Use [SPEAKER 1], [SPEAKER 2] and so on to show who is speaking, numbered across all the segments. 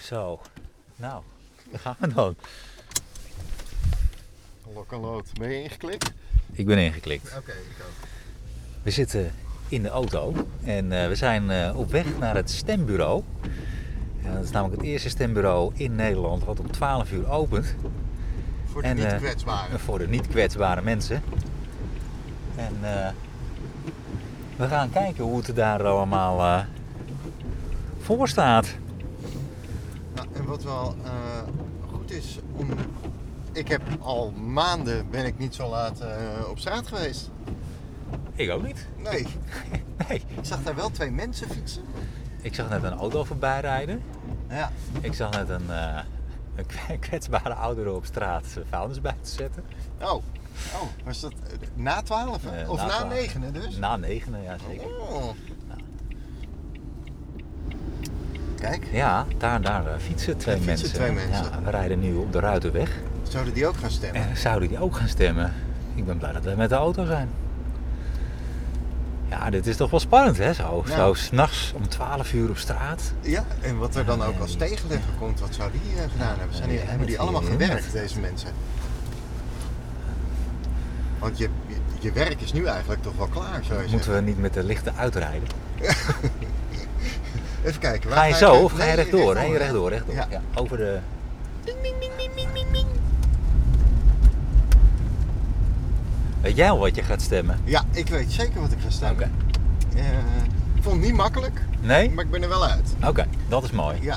[SPEAKER 1] Zo, nou, daar gaan we dan.
[SPEAKER 2] Lok en lood. Ben je ingeklikt?
[SPEAKER 1] Ik ben ingeklikt.
[SPEAKER 2] Oké, ik ook.
[SPEAKER 1] We zitten in de auto en eh, we zijn eh, op weg naar het stembureau. En dat is namelijk het eerste stembureau in Nederland wat om 12 uur opent.
[SPEAKER 2] Voor de
[SPEAKER 1] En,
[SPEAKER 2] niet
[SPEAKER 1] eh,
[SPEAKER 2] kwetsbaren.
[SPEAKER 1] Voor de niet kwetsbare mensen. En eh, we gaan kijken hoe het daar allemaal eh, voor staat.
[SPEAKER 2] Nou, en wat wel eh, goed is om... Ik heb al maanden ben ik niet zo laat eh, op straat geweest.
[SPEAKER 1] Ik ook niet.
[SPEAKER 2] Nee,
[SPEAKER 1] Nee.
[SPEAKER 2] ik zag daar wel twee mensen fietsen.
[SPEAKER 1] Ik zag net een auto voorbij rijden.
[SPEAKER 2] Ja,
[SPEAKER 1] Ik zag net een, eh, een kwa- kwetsbare ouderen op straat zijn vuilnis bij te zetten.
[SPEAKER 2] oh. Oh, was dat eh, na 12 hè?
[SPEAKER 1] Eh,
[SPEAKER 2] of na
[SPEAKER 1] 12.
[SPEAKER 2] negenen dus?
[SPEAKER 1] Na negenen, ja zeker.
[SPEAKER 2] Oh. Kijk,
[SPEAKER 1] Ja, daar, daar eh, fietsen twee
[SPEAKER 2] Daar
[SPEAKER 1] mensen.
[SPEAKER 2] fietsen twee mensen.
[SPEAKER 1] Ja, we rijden nu op de Ruitenweg.
[SPEAKER 2] zouden die ook gaan stemmen?
[SPEAKER 1] En zouden die ook gaan stemmen? Ik ben blij dat we met de auto zijn. Ja, dit is toch wel spannend hè? Zo,
[SPEAKER 2] Ja.
[SPEAKER 1] zo s'nachts om 12 uur op straat.
[SPEAKER 2] Ja, en wat er dan ook als tegenligger komt, wat zou die eh, gedaan hebben? Zijn die,
[SPEAKER 1] Ja,
[SPEAKER 2] hebben die
[SPEAKER 1] dat
[SPEAKER 2] allemaal
[SPEAKER 1] weet ik niet.
[SPEAKER 2] gewerkt, deze mensen? Want je, je, je werk is nu eigenlijk toch wel klaar, zou je
[SPEAKER 1] Moeten
[SPEAKER 2] zeggen.
[SPEAKER 1] we niet met de lichten uitrijden?
[SPEAKER 2] Even kijken. waar
[SPEAKER 1] Ga je
[SPEAKER 2] ik-
[SPEAKER 1] zo of ga je
[SPEAKER 2] Nee,
[SPEAKER 1] rechtdoor?
[SPEAKER 2] rechtdoor,
[SPEAKER 1] Nee,
[SPEAKER 2] ja.
[SPEAKER 1] rechtdoor, rechtdoor.
[SPEAKER 2] Ja.
[SPEAKER 1] Ja. over de... Weet jij al wat je gaat stemmen?
[SPEAKER 2] Ja, ik weet zeker wat ik ga staan. Eh,
[SPEAKER 1] Oké.
[SPEAKER 2] ik vond het niet makkelijk,
[SPEAKER 1] Nee?
[SPEAKER 2] maar ik ben er wel uit.
[SPEAKER 1] Oké, dat is mooi.
[SPEAKER 2] Ja.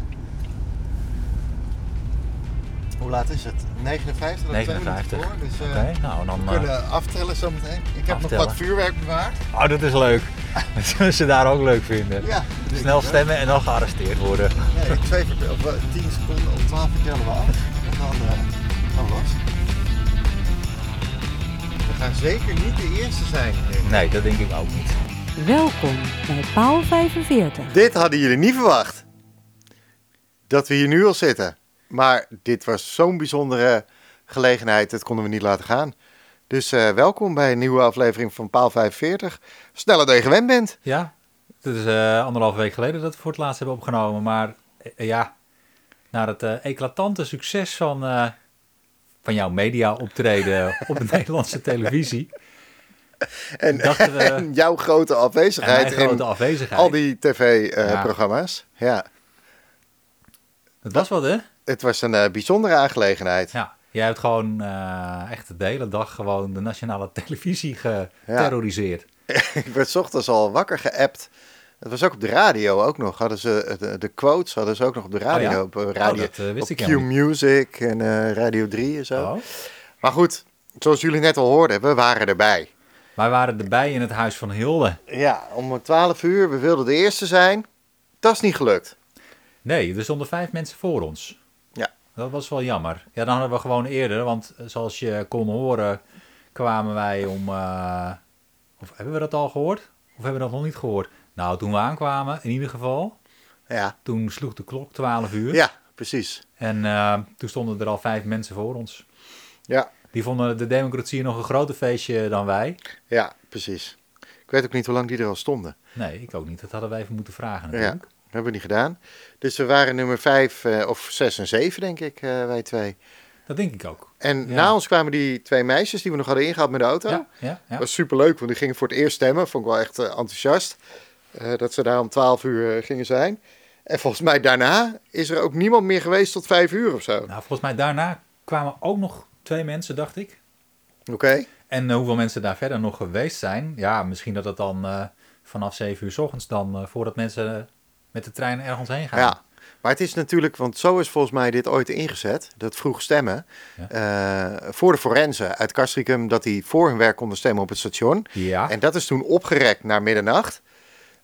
[SPEAKER 2] Hoe laat is het? 59? dat twee minuten
[SPEAKER 1] 59.
[SPEAKER 2] voor, dus eh,
[SPEAKER 1] Oké, nou dan...
[SPEAKER 2] we
[SPEAKER 1] eh,
[SPEAKER 2] kunnen aftellen zometeen. Ik heb nog
[SPEAKER 1] aftellen.
[SPEAKER 2] wat vuurwerk bewaard.
[SPEAKER 1] Oh, dat is leuk. Dat zullen ze daar ook leuk vinden.
[SPEAKER 2] Ja, denk ik
[SPEAKER 1] Snel
[SPEAKER 2] wel.
[SPEAKER 1] stemmen en dan gearresteerd worden.
[SPEAKER 2] Nee, in twee vertel- of, eh, 10 seconden of 12 vertellen we af. En dan, eh, dan los. We gaan zeker niet de eerste zijn.
[SPEAKER 1] Nee, dat denk ik ook niet.
[SPEAKER 3] Welkom bij Paal 45.
[SPEAKER 2] Dit hadden jullie niet verwacht. Dat we hier nu al zitten. Maar dit was zo'n bijzondere gelegenheid. Dat konden we niet laten gaan. Dus eh, welkom bij een nieuwe aflevering van Paal 45. Sneller dan je gewend bent.
[SPEAKER 1] Ja, het is eh anderhalf week geleden dat we voor het laatst hebben opgenomen. Maar eh, ja, na het eh, eclatante succes van, eh, van jouw media optreden op de Nederlandse televisie.
[SPEAKER 2] En,
[SPEAKER 1] Dachten we-
[SPEAKER 2] en jouw grote
[SPEAKER 1] En mijn
[SPEAKER 2] afwezigheid in
[SPEAKER 1] grote afwezigheid.
[SPEAKER 2] al die
[SPEAKER 1] Ja.
[SPEAKER 2] tv-programma's. ja.
[SPEAKER 1] Dat was wat, hè?
[SPEAKER 2] Het was een eh, bijzondere aangelegenheid.
[SPEAKER 1] Ja, jij hebt gewoon eh, echt de hele dag gewoon de nationale televisie geterroriseerd.
[SPEAKER 2] Ik werd 's ochtends al wakker geappt. Het was ook op de radio ook nog. Hadden ze eh, de, de quotes hadden ze ook nog op de radio.
[SPEAKER 1] Oh ja?
[SPEAKER 2] Op eh, radio.
[SPEAKER 1] Oh, dat, eh, wist
[SPEAKER 2] op
[SPEAKER 1] ik
[SPEAKER 2] Q
[SPEAKER 1] helemaal
[SPEAKER 2] Music en eh, Radio 3 en zo.
[SPEAKER 1] Oh.
[SPEAKER 2] Maar goed, zoals jullie net al hoorden, we waren erbij.
[SPEAKER 1] Wij waren erbij in het huis van Hilde.
[SPEAKER 2] Ja, om 12 uur, we wilden de eerste zijn. Dat is niet gelukt.
[SPEAKER 1] Nee, er stonden vijf mensen voor ons.
[SPEAKER 2] Ja.
[SPEAKER 1] Dat was wel jammer. Ja, dan hadden we gewoon eerder, want eh, zoals je kon horen, kwamen wij om. eh, of hebben we dat al gehoord? Of hebben we dat nog niet gehoord? Nou, toen we aankwamen, in ieder geval,
[SPEAKER 2] Ja,
[SPEAKER 1] toen sloeg de klok 12 uur.
[SPEAKER 2] ja precies.
[SPEAKER 1] En eh, toen stonden er al vijf mensen voor ons.
[SPEAKER 2] Ja,
[SPEAKER 1] Die vonden de democratie nog een groter feestje dan wij.
[SPEAKER 2] ja, precies. Ik weet ook niet hoe lang die er al stonden.
[SPEAKER 1] Nee, ik ook niet. Dat hadden wij even moeten vragen
[SPEAKER 2] Ja,
[SPEAKER 1] natuurlijk.
[SPEAKER 2] dat hebben we niet gedaan. Dus we waren nummer 5 of 6 en 7, denk ik, eh, wij twee.
[SPEAKER 1] Dat denk ik ook.
[SPEAKER 2] En
[SPEAKER 1] Ja.
[SPEAKER 2] na ons kwamen die twee meisjes die we nog hadden ingehaald met de auto.
[SPEAKER 1] Ja, ja, ja.
[SPEAKER 2] Dat was superleuk, want die gingen voor het eerst stemmen. Vond ik wel echt eh, enthousiast. eh, dat ze daar om 12 uur eh, gingen zijn. En volgens mij daarna is er ook niemand meer geweest tot 5 uur of zo. Oké.
[SPEAKER 1] Nou, volgens mij daarna kwamen ook nog twee mensen, dacht ik. En eh, hoeveel mensen daar verder nog geweest zijn. Ja, misschien dat het dan eh, vanaf 7 uur s ochtends dan eh, voordat mensen eh, met de trein ergens heen gaan.
[SPEAKER 2] Ja. Maar het is natuurlijk, want zo is volgens mij dit ooit ingezet, dat vroeg stemmen, eh, voor de forensen uit Castricum, dat die voor hun werk konden stemmen op het station.
[SPEAKER 1] Ja.
[SPEAKER 2] En dat is toen opgerekt naar middernacht.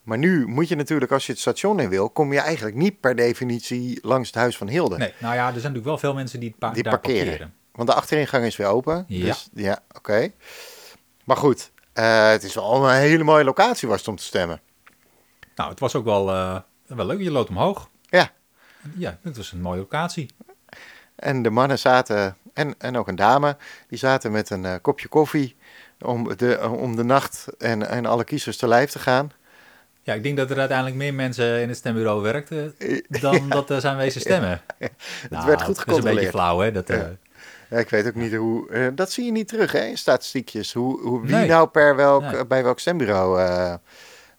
[SPEAKER 2] Maar nu moet je natuurlijk, als je het station in wil, kom je eigenlijk niet per definitie langs het huis van Hilde.
[SPEAKER 1] Nee, nou ja, er zijn natuurlijk wel veel mensen die, het pa-
[SPEAKER 2] Die
[SPEAKER 1] daar
[SPEAKER 2] parkeren.
[SPEAKER 1] parkeren.
[SPEAKER 2] Want de achteringang is weer open.
[SPEAKER 1] Ja.
[SPEAKER 2] Dus, ja, oké. Maar goed, eh, het is wel een hele mooie locatie was het om te stemmen.
[SPEAKER 1] Nou, het was ook wel, eh, wel leuk. Je loopt omhoog.
[SPEAKER 2] Ja,
[SPEAKER 1] Ja, het was een mooie locatie.
[SPEAKER 2] en de mannen zaten, en, en ook een dame, die zaten met een eh, kopje koffie om de, om de nacht en, en alle kiezers te lijf te gaan.
[SPEAKER 1] Ja, ik denk dat er uiteindelijk meer mensen in het stembureau werkten dan dat er zijn wezen stemmen.
[SPEAKER 2] Het werd goed
[SPEAKER 1] Dat is een
[SPEAKER 2] gecontroleerd.
[SPEAKER 1] beetje flauw, hè? Dat, eh,
[SPEAKER 2] Ja. Ja, ik weet ook niet hoe. eh, dat zie je niet terug hè, in statistiekjes. Hoe, hoe, wie
[SPEAKER 1] Nee.
[SPEAKER 2] nou per welk,
[SPEAKER 1] Nee.
[SPEAKER 2] bij welk stembureau. eh,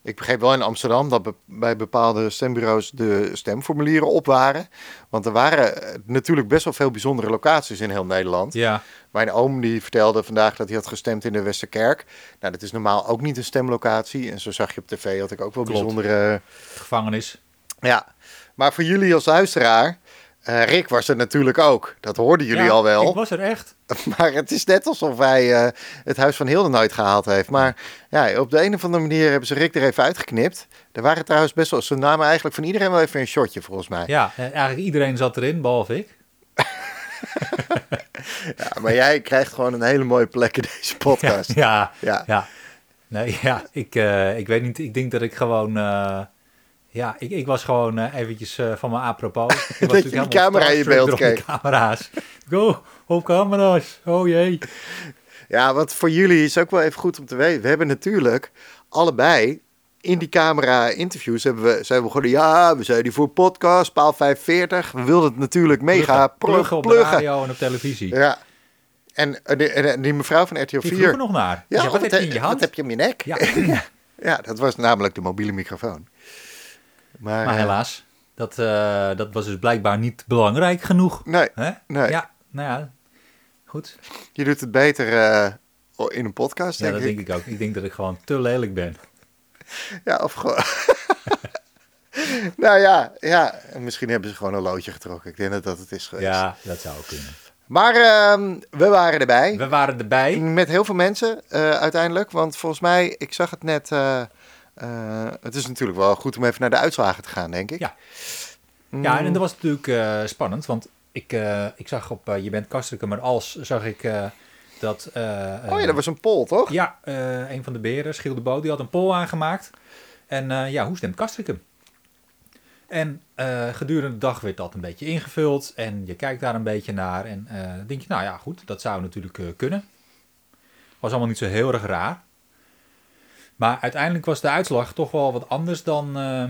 [SPEAKER 2] ik begreep wel in Amsterdam dat be- bij bepaalde stembureaus de stemformulieren op waren. Want er waren eh, natuurlijk best wel veel bijzondere locaties in heel Nederland.
[SPEAKER 1] ja.
[SPEAKER 2] Mijn oom die vertelde vandaag dat hij had gestemd in de Westerkerk. Nou, dat is normaal ook niet een stemlocatie. En zo zag je op tv had ik ook wel
[SPEAKER 1] Klopt.
[SPEAKER 2] bijzondere.
[SPEAKER 1] gevangenis.
[SPEAKER 2] Ja, maar voor jullie als luisteraar. eh, Rick was er natuurlijk ook. Dat hoorden jullie
[SPEAKER 1] Ja,
[SPEAKER 2] al wel.
[SPEAKER 1] Ik was er echt.
[SPEAKER 2] Maar het is net alsof hij eh, het Huis van Hilden nooit gehaald heeft. Maar ja, op de een of andere manier hebben ze Rick er even uitgeknipt. Er waren trouwens best wel... Ze namen eigenlijk van iedereen wel even een shotje, volgens mij. Ja.
[SPEAKER 1] Ja, eh, eigenlijk iedereen zat erin, behalve ik.
[SPEAKER 2] maar jij krijgt gewoon een hele mooie plek in deze
[SPEAKER 1] Ja,
[SPEAKER 2] podcast.
[SPEAKER 1] ja,
[SPEAKER 2] Ja.
[SPEAKER 1] ja. Nee, ja, ik, eh, ik weet niet. Ik denk dat ik gewoon... eh, ja, ik, ik was gewoon eh, eventjes eh, van mijn apropos. Ik was natuurlijk
[SPEAKER 2] die
[SPEAKER 1] helemaal
[SPEAKER 2] camera in je
[SPEAKER 1] starstruck
[SPEAKER 2] beeld
[SPEAKER 1] door die
[SPEAKER 2] keek.
[SPEAKER 1] camera's. Go, op camera's. Oh jee.
[SPEAKER 2] Ja, want voor jullie is ook wel even goed om te weten. We hebben natuurlijk allebei in die camera interviews hebben we, zijn we begonnen. Ja, we zijn hier voor podcast, paal 45. We wilden het natuurlijk mega
[SPEAKER 1] Pluggen,
[SPEAKER 2] plug-
[SPEAKER 1] pluggen
[SPEAKER 2] pluggen. Eh,
[SPEAKER 1] op de radio en op televisie.
[SPEAKER 2] Ja. En, eh, die- en die mevrouw van RTL 4...
[SPEAKER 1] Die vroeg er nog naar. Die
[SPEAKER 2] Ja,
[SPEAKER 1] zei,
[SPEAKER 2] wat,
[SPEAKER 1] wat heb je in je hand?
[SPEAKER 2] wat heb je in je nek?
[SPEAKER 1] Ja,
[SPEAKER 2] Ja, dat was namelijk de mobiele microfoon. Maar,
[SPEAKER 1] maar
[SPEAKER 2] eh,
[SPEAKER 1] helaas. Dat, eh, dat was dus blijkbaar niet belangrijk genoeg.
[SPEAKER 2] Nee,
[SPEAKER 1] Hè?
[SPEAKER 2] nee.
[SPEAKER 1] Ja, nou ja. Goed.
[SPEAKER 2] je doet het beter eh, in een podcast,
[SPEAKER 1] Ja,
[SPEAKER 2] denk
[SPEAKER 1] dat
[SPEAKER 2] ik.
[SPEAKER 1] denk ik ook. Ik denk dat ik gewoon te lelijk ben.
[SPEAKER 2] Ja, of gewoon... nou ja, ja, misschien hebben ze gewoon een loodje getrokken. Ik denk dat dat het is geweest.
[SPEAKER 1] Ja, dat zou ook kunnen.
[SPEAKER 2] Maar ehm, we waren erbij.
[SPEAKER 1] We waren erbij.
[SPEAKER 2] Met heel veel mensen eh, uiteindelijk. Want volgens mij, ik zag het net... eh, eh, het is natuurlijk wel goed om even naar de uitslagen te gaan, denk ik. Mm.
[SPEAKER 1] Ja. Ja, en dat was natuurlijk eh, spannend, want ik, eh, ik zag op eh, Je bent kastrikum maar als zag ik eh, dat... eh,
[SPEAKER 2] Oh ja, dat was een poll, toch?
[SPEAKER 1] Ja, eh, een van de beren, Schiel de Boot, die had een poll aangemaakt. En eh, ja, hoe stemt Kastrikum? En eh, gedurende de dag werd dat een beetje ingevuld. En je kijkt daar een beetje naar. En eh, dan denk je, nou ja, goed, dat zou natuurlijk eh, kunnen. Was allemaal niet zo heel erg raar. Maar uiteindelijk was de uitslag toch wel wat anders dan, eh,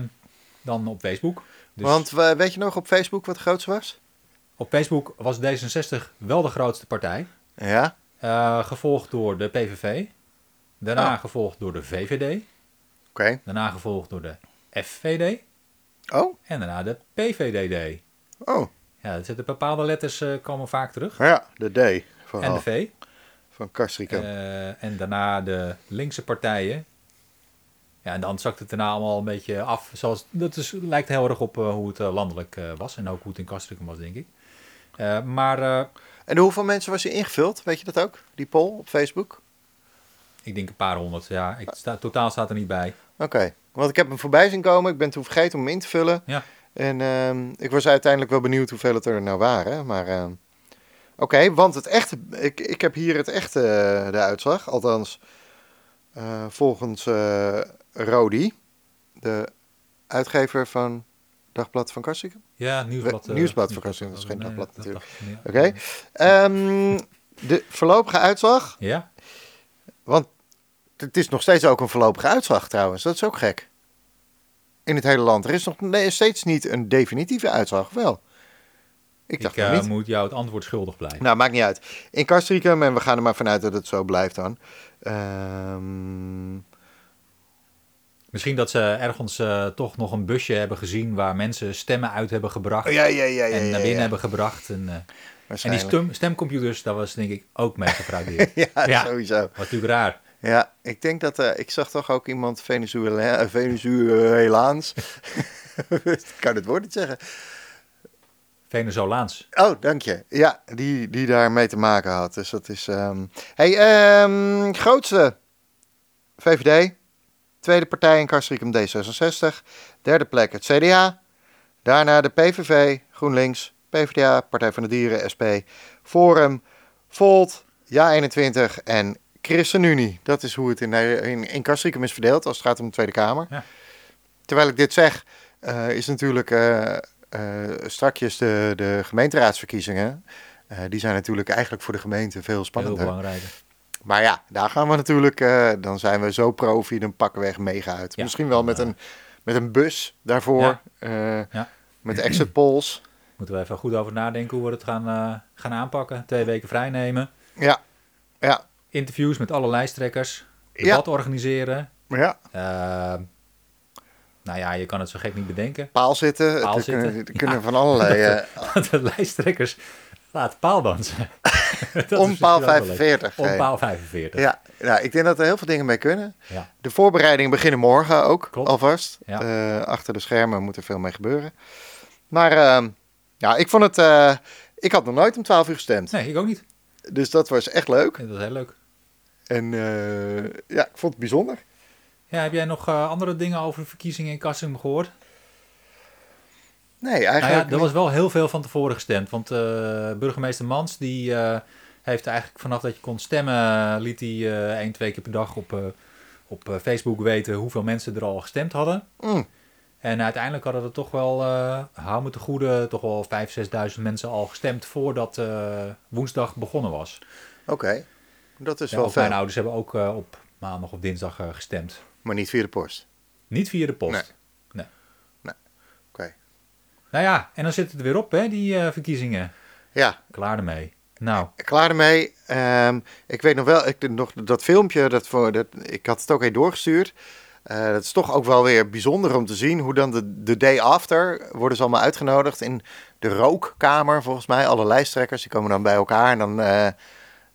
[SPEAKER 1] dan op Facebook. Dus
[SPEAKER 2] Want we- weet je nog op Facebook wat groots was?
[SPEAKER 1] op Facebook was D66 wel de grootste partij.
[SPEAKER 2] Ja.
[SPEAKER 1] Eh, gevolgd door de PVV. Daarna
[SPEAKER 2] Ah.
[SPEAKER 1] gevolgd door de VVD.
[SPEAKER 2] Oké.
[SPEAKER 1] Daarna gevolgd door de FVD
[SPEAKER 2] Oh,
[SPEAKER 1] en daarna de PVDD.
[SPEAKER 2] oh.
[SPEAKER 1] Ja, er zitten bepaalde letters eh, komen vaak terug.
[SPEAKER 2] Ja, de D
[SPEAKER 1] En
[SPEAKER 2] vooral.
[SPEAKER 1] de V.
[SPEAKER 2] Van Kastrikum.
[SPEAKER 1] Eh, en daarna de linkse partijen. Ja, en dan zakt het daarna allemaal een beetje af. Zoals, dat is, lijkt heel erg op eh, hoe het eh, landelijk eh, was. En ook hoe het in Kastrikum was, denk ik. Eh, maar eh,
[SPEAKER 2] En hoeveel mensen was er ingevuld? Weet je dat ook? Die poll op Facebook?
[SPEAKER 1] ik denk een paar honderd. Ja, ik sta, totaal staat er niet bij.
[SPEAKER 2] Oké. Want ik heb hem voorbij zien komen. Ik ben toen vergeten om hem in te vullen.
[SPEAKER 1] Ja.
[SPEAKER 2] En ehm, ik was uiteindelijk wel benieuwd hoeveel het er nou waren. Maar ehm, oké, want het echte... Ik, ik heb hier het echte eh, de uitslag. Althans, eh, volgens eh Rodi, de uitgever van Dagblad van Kastrikum.
[SPEAKER 1] Ja, nieuwsblad.
[SPEAKER 2] We-
[SPEAKER 1] eh,
[SPEAKER 2] nieuwsblad voor Kastrikum, dat is geen
[SPEAKER 1] Nee,
[SPEAKER 2] dagblad
[SPEAKER 1] dat dacht ik, ja.
[SPEAKER 2] Oké. Ehm, de voorlopige uitslag.
[SPEAKER 1] Ja,
[SPEAKER 2] Want het is nog steeds ook een voorlopige uitslag trouwens. Dat is ook gek. In het hele land. Er is nog ne- steeds niet een definitieve uitslag. Wel. Ik
[SPEAKER 1] ik,
[SPEAKER 2] dacht
[SPEAKER 1] eh,
[SPEAKER 2] nog niet.
[SPEAKER 1] moet jou het antwoord schuldig blijven.
[SPEAKER 2] Nou, maakt niet uit. In Castricum, en we gaan er maar vanuit dat het zo blijft dan. Ehm,
[SPEAKER 1] Misschien dat ze ergens eh, toch nog een busje hebben gezien waar mensen stemmen uit hebben gebracht.
[SPEAKER 2] oh, ja, ja, ja, ja.
[SPEAKER 1] en naar
[SPEAKER 2] ja, ja,
[SPEAKER 1] binnen
[SPEAKER 2] ja.
[SPEAKER 1] hebben gebracht. En, eh, en die
[SPEAKER 2] Waarschijnlijk.
[SPEAKER 1] stem, stemcomputers, daar was denk ik ook mee gefraudeerd.
[SPEAKER 2] Ja,
[SPEAKER 1] Ja.
[SPEAKER 2] sowieso.
[SPEAKER 1] was natuurlijk raar.
[SPEAKER 2] Ja, ik denk dat... eh, ik zag toch ook iemand Venezuela, eh, Venezuelaans... ik kan het woord niet zeggen.
[SPEAKER 1] Venezolaans.
[SPEAKER 2] Oh, dank je. Ja, die, die daar mee te maken had. Dus dat is. ehm, Hey, ehm, grootste VVD. Tweede partij in Kastrikum D66. Derde plek het CDA. Daarna de PVV, GroenLinks, PvdA, Partij van de Dieren, SP, Forum, Volt, Ja21 en ChristenUnie. Dat is hoe het in, eh, in, in Kastrikum is verdeeld als het gaat om de Tweede Kamer.
[SPEAKER 1] Ja.
[SPEAKER 2] Terwijl ik dit zeg, eh, is natuurlijk eh, eh, strakjes de, de gemeenteraadsverkiezingen. Eh, die zijn natuurlijk eigenlijk voor de gemeente veel
[SPEAKER 1] Heel
[SPEAKER 2] spannender.
[SPEAKER 1] belangrijk.
[SPEAKER 2] Maar ja, daar gaan we natuurlijk, eh, dan zijn we zo profi, dan pakken we echt mega uit.
[SPEAKER 1] Ja,
[SPEAKER 2] Misschien wel met
[SPEAKER 1] dan,
[SPEAKER 2] een, met een bus daarvoor,
[SPEAKER 1] Ja.
[SPEAKER 2] eh,
[SPEAKER 1] Ja.
[SPEAKER 2] met exit polls.
[SPEAKER 1] Moeten we even goed over nadenken hoe we het gaan, eh, gaan aanpakken. Twee weken vrij nemen.
[SPEAKER 2] Ja, ja,
[SPEAKER 1] Interviews met alle lijsttrekkers.
[SPEAKER 2] Ja.
[SPEAKER 1] Debat organiseren.
[SPEAKER 2] ja.
[SPEAKER 1] Eh, nou ja, je kan het zo gek niet bedenken.
[SPEAKER 2] Paal zitten,
[SPEAKER 1] Paal
[SPEAKER 2] er kunnen,
[SPEAKER 1] zitten.
[SPEAKER 2] er kunnen van allerlei, eh,
[SPEAKER 1] Want de lijsttrekkers laat paaldansen. Dat is
[SPEAKER 2] om
[SPEAKER 1] misschien
[SPEAKER 2] paal
[SPEAKER 1] ook wel leuk.
[SPEAKER 2] 45.
[SPEAKER 1] Om
[SPEAKER 2] heen.
[SPEAKER 1] paal 45.
[SPEAKER 2] Ja, nou, ik denk dat er heel veel dingen mee kunnen.
[SPEAKER 1] Ja.
[SPEAKER 2] De voorbereidingen beginnen morgen ook,
[SPEAKER 1] Klopt.
[SPEAKER 2] alvast.
[SPEAKER 1] Ja.
[SPEAKER 2] Eh, achter de schermen moet er veel mee gebeuren. Maar ehm, ja, ik vond het... eh, ik had nog nooit om 12 uur gestemd.
[SPEAKER 1] Nee, ik ook niet.
[SPEAKER 2] Dus dat was echt leuk.
[SPEAKER 1] Dat is heel leuk.
[SPEAKER 2] En eh, ja, ik vond het bijzonder.
[SPEAKER 1] Ja, heb jij nog eh, andere dingen over verkiezingen in Kassum gehoord?
[SPEAKER 2] Nee,
[SPEAKER 1] Nou ja,
[SPEAKER 2] eigenlijk
[SPEAKER 1] er was wel heel veel van tevoren gestemd. Want eh, burgemeester Mans die eh, heeft eigenlijk vanaf dat je kon stemmen, eh, liet hij eh, één, twee keer per dag op, eh, op eh, Facebook weten hoeveel mensen er al gestemd hadden.
[SPEAKER 2] niet. Mm,
[SPEAKER 1] En uiteindelijk hadden er toch wel, eh hou me te goede, toch wel 5.000, 6.000 mensen al gestemd voordat eh, woensdag begonnen was.
[SPEAKER 2] Oké, dat is
[SPEAKER 1] Ja,
[SPEAKER 2] wel
[SPEAKER 1] ook mijn
[SPEAKER 2] fijn.
[SPEAKER 1] ouders hebben ook eh, op maandag of dinsdag eh, gestemd.
[SPEAKER 2] Maar niet via de post.
[SPEAKER 1] Niet via de post.
[SPEAKER 2] Nee.
[SPEAKER 1] Nee.
[SPEAKER 2] Oké.
[SPEAKER 1] Nou ja, en dan zit het weer op, hè, die eh, verkiezingen.
[SPEAKER 2] Ja,
[SPEAKER 1] Klaar ermee. Nou,
[SPEAKER 2] klaar ermee. Ehm, ik weet nog wel, ik, nog, dat filmpje, dat, voor- dat, ik had het ook even doorgestuurd. Eh, dat is toch ook wel weer bijzonder om te zien hoe dan de, de day after worden ze allemaal uitgenodigd in de rookkamer, volgens mij. Alle lijsttrekkers, die komen dan bij elkaar en dan, eh,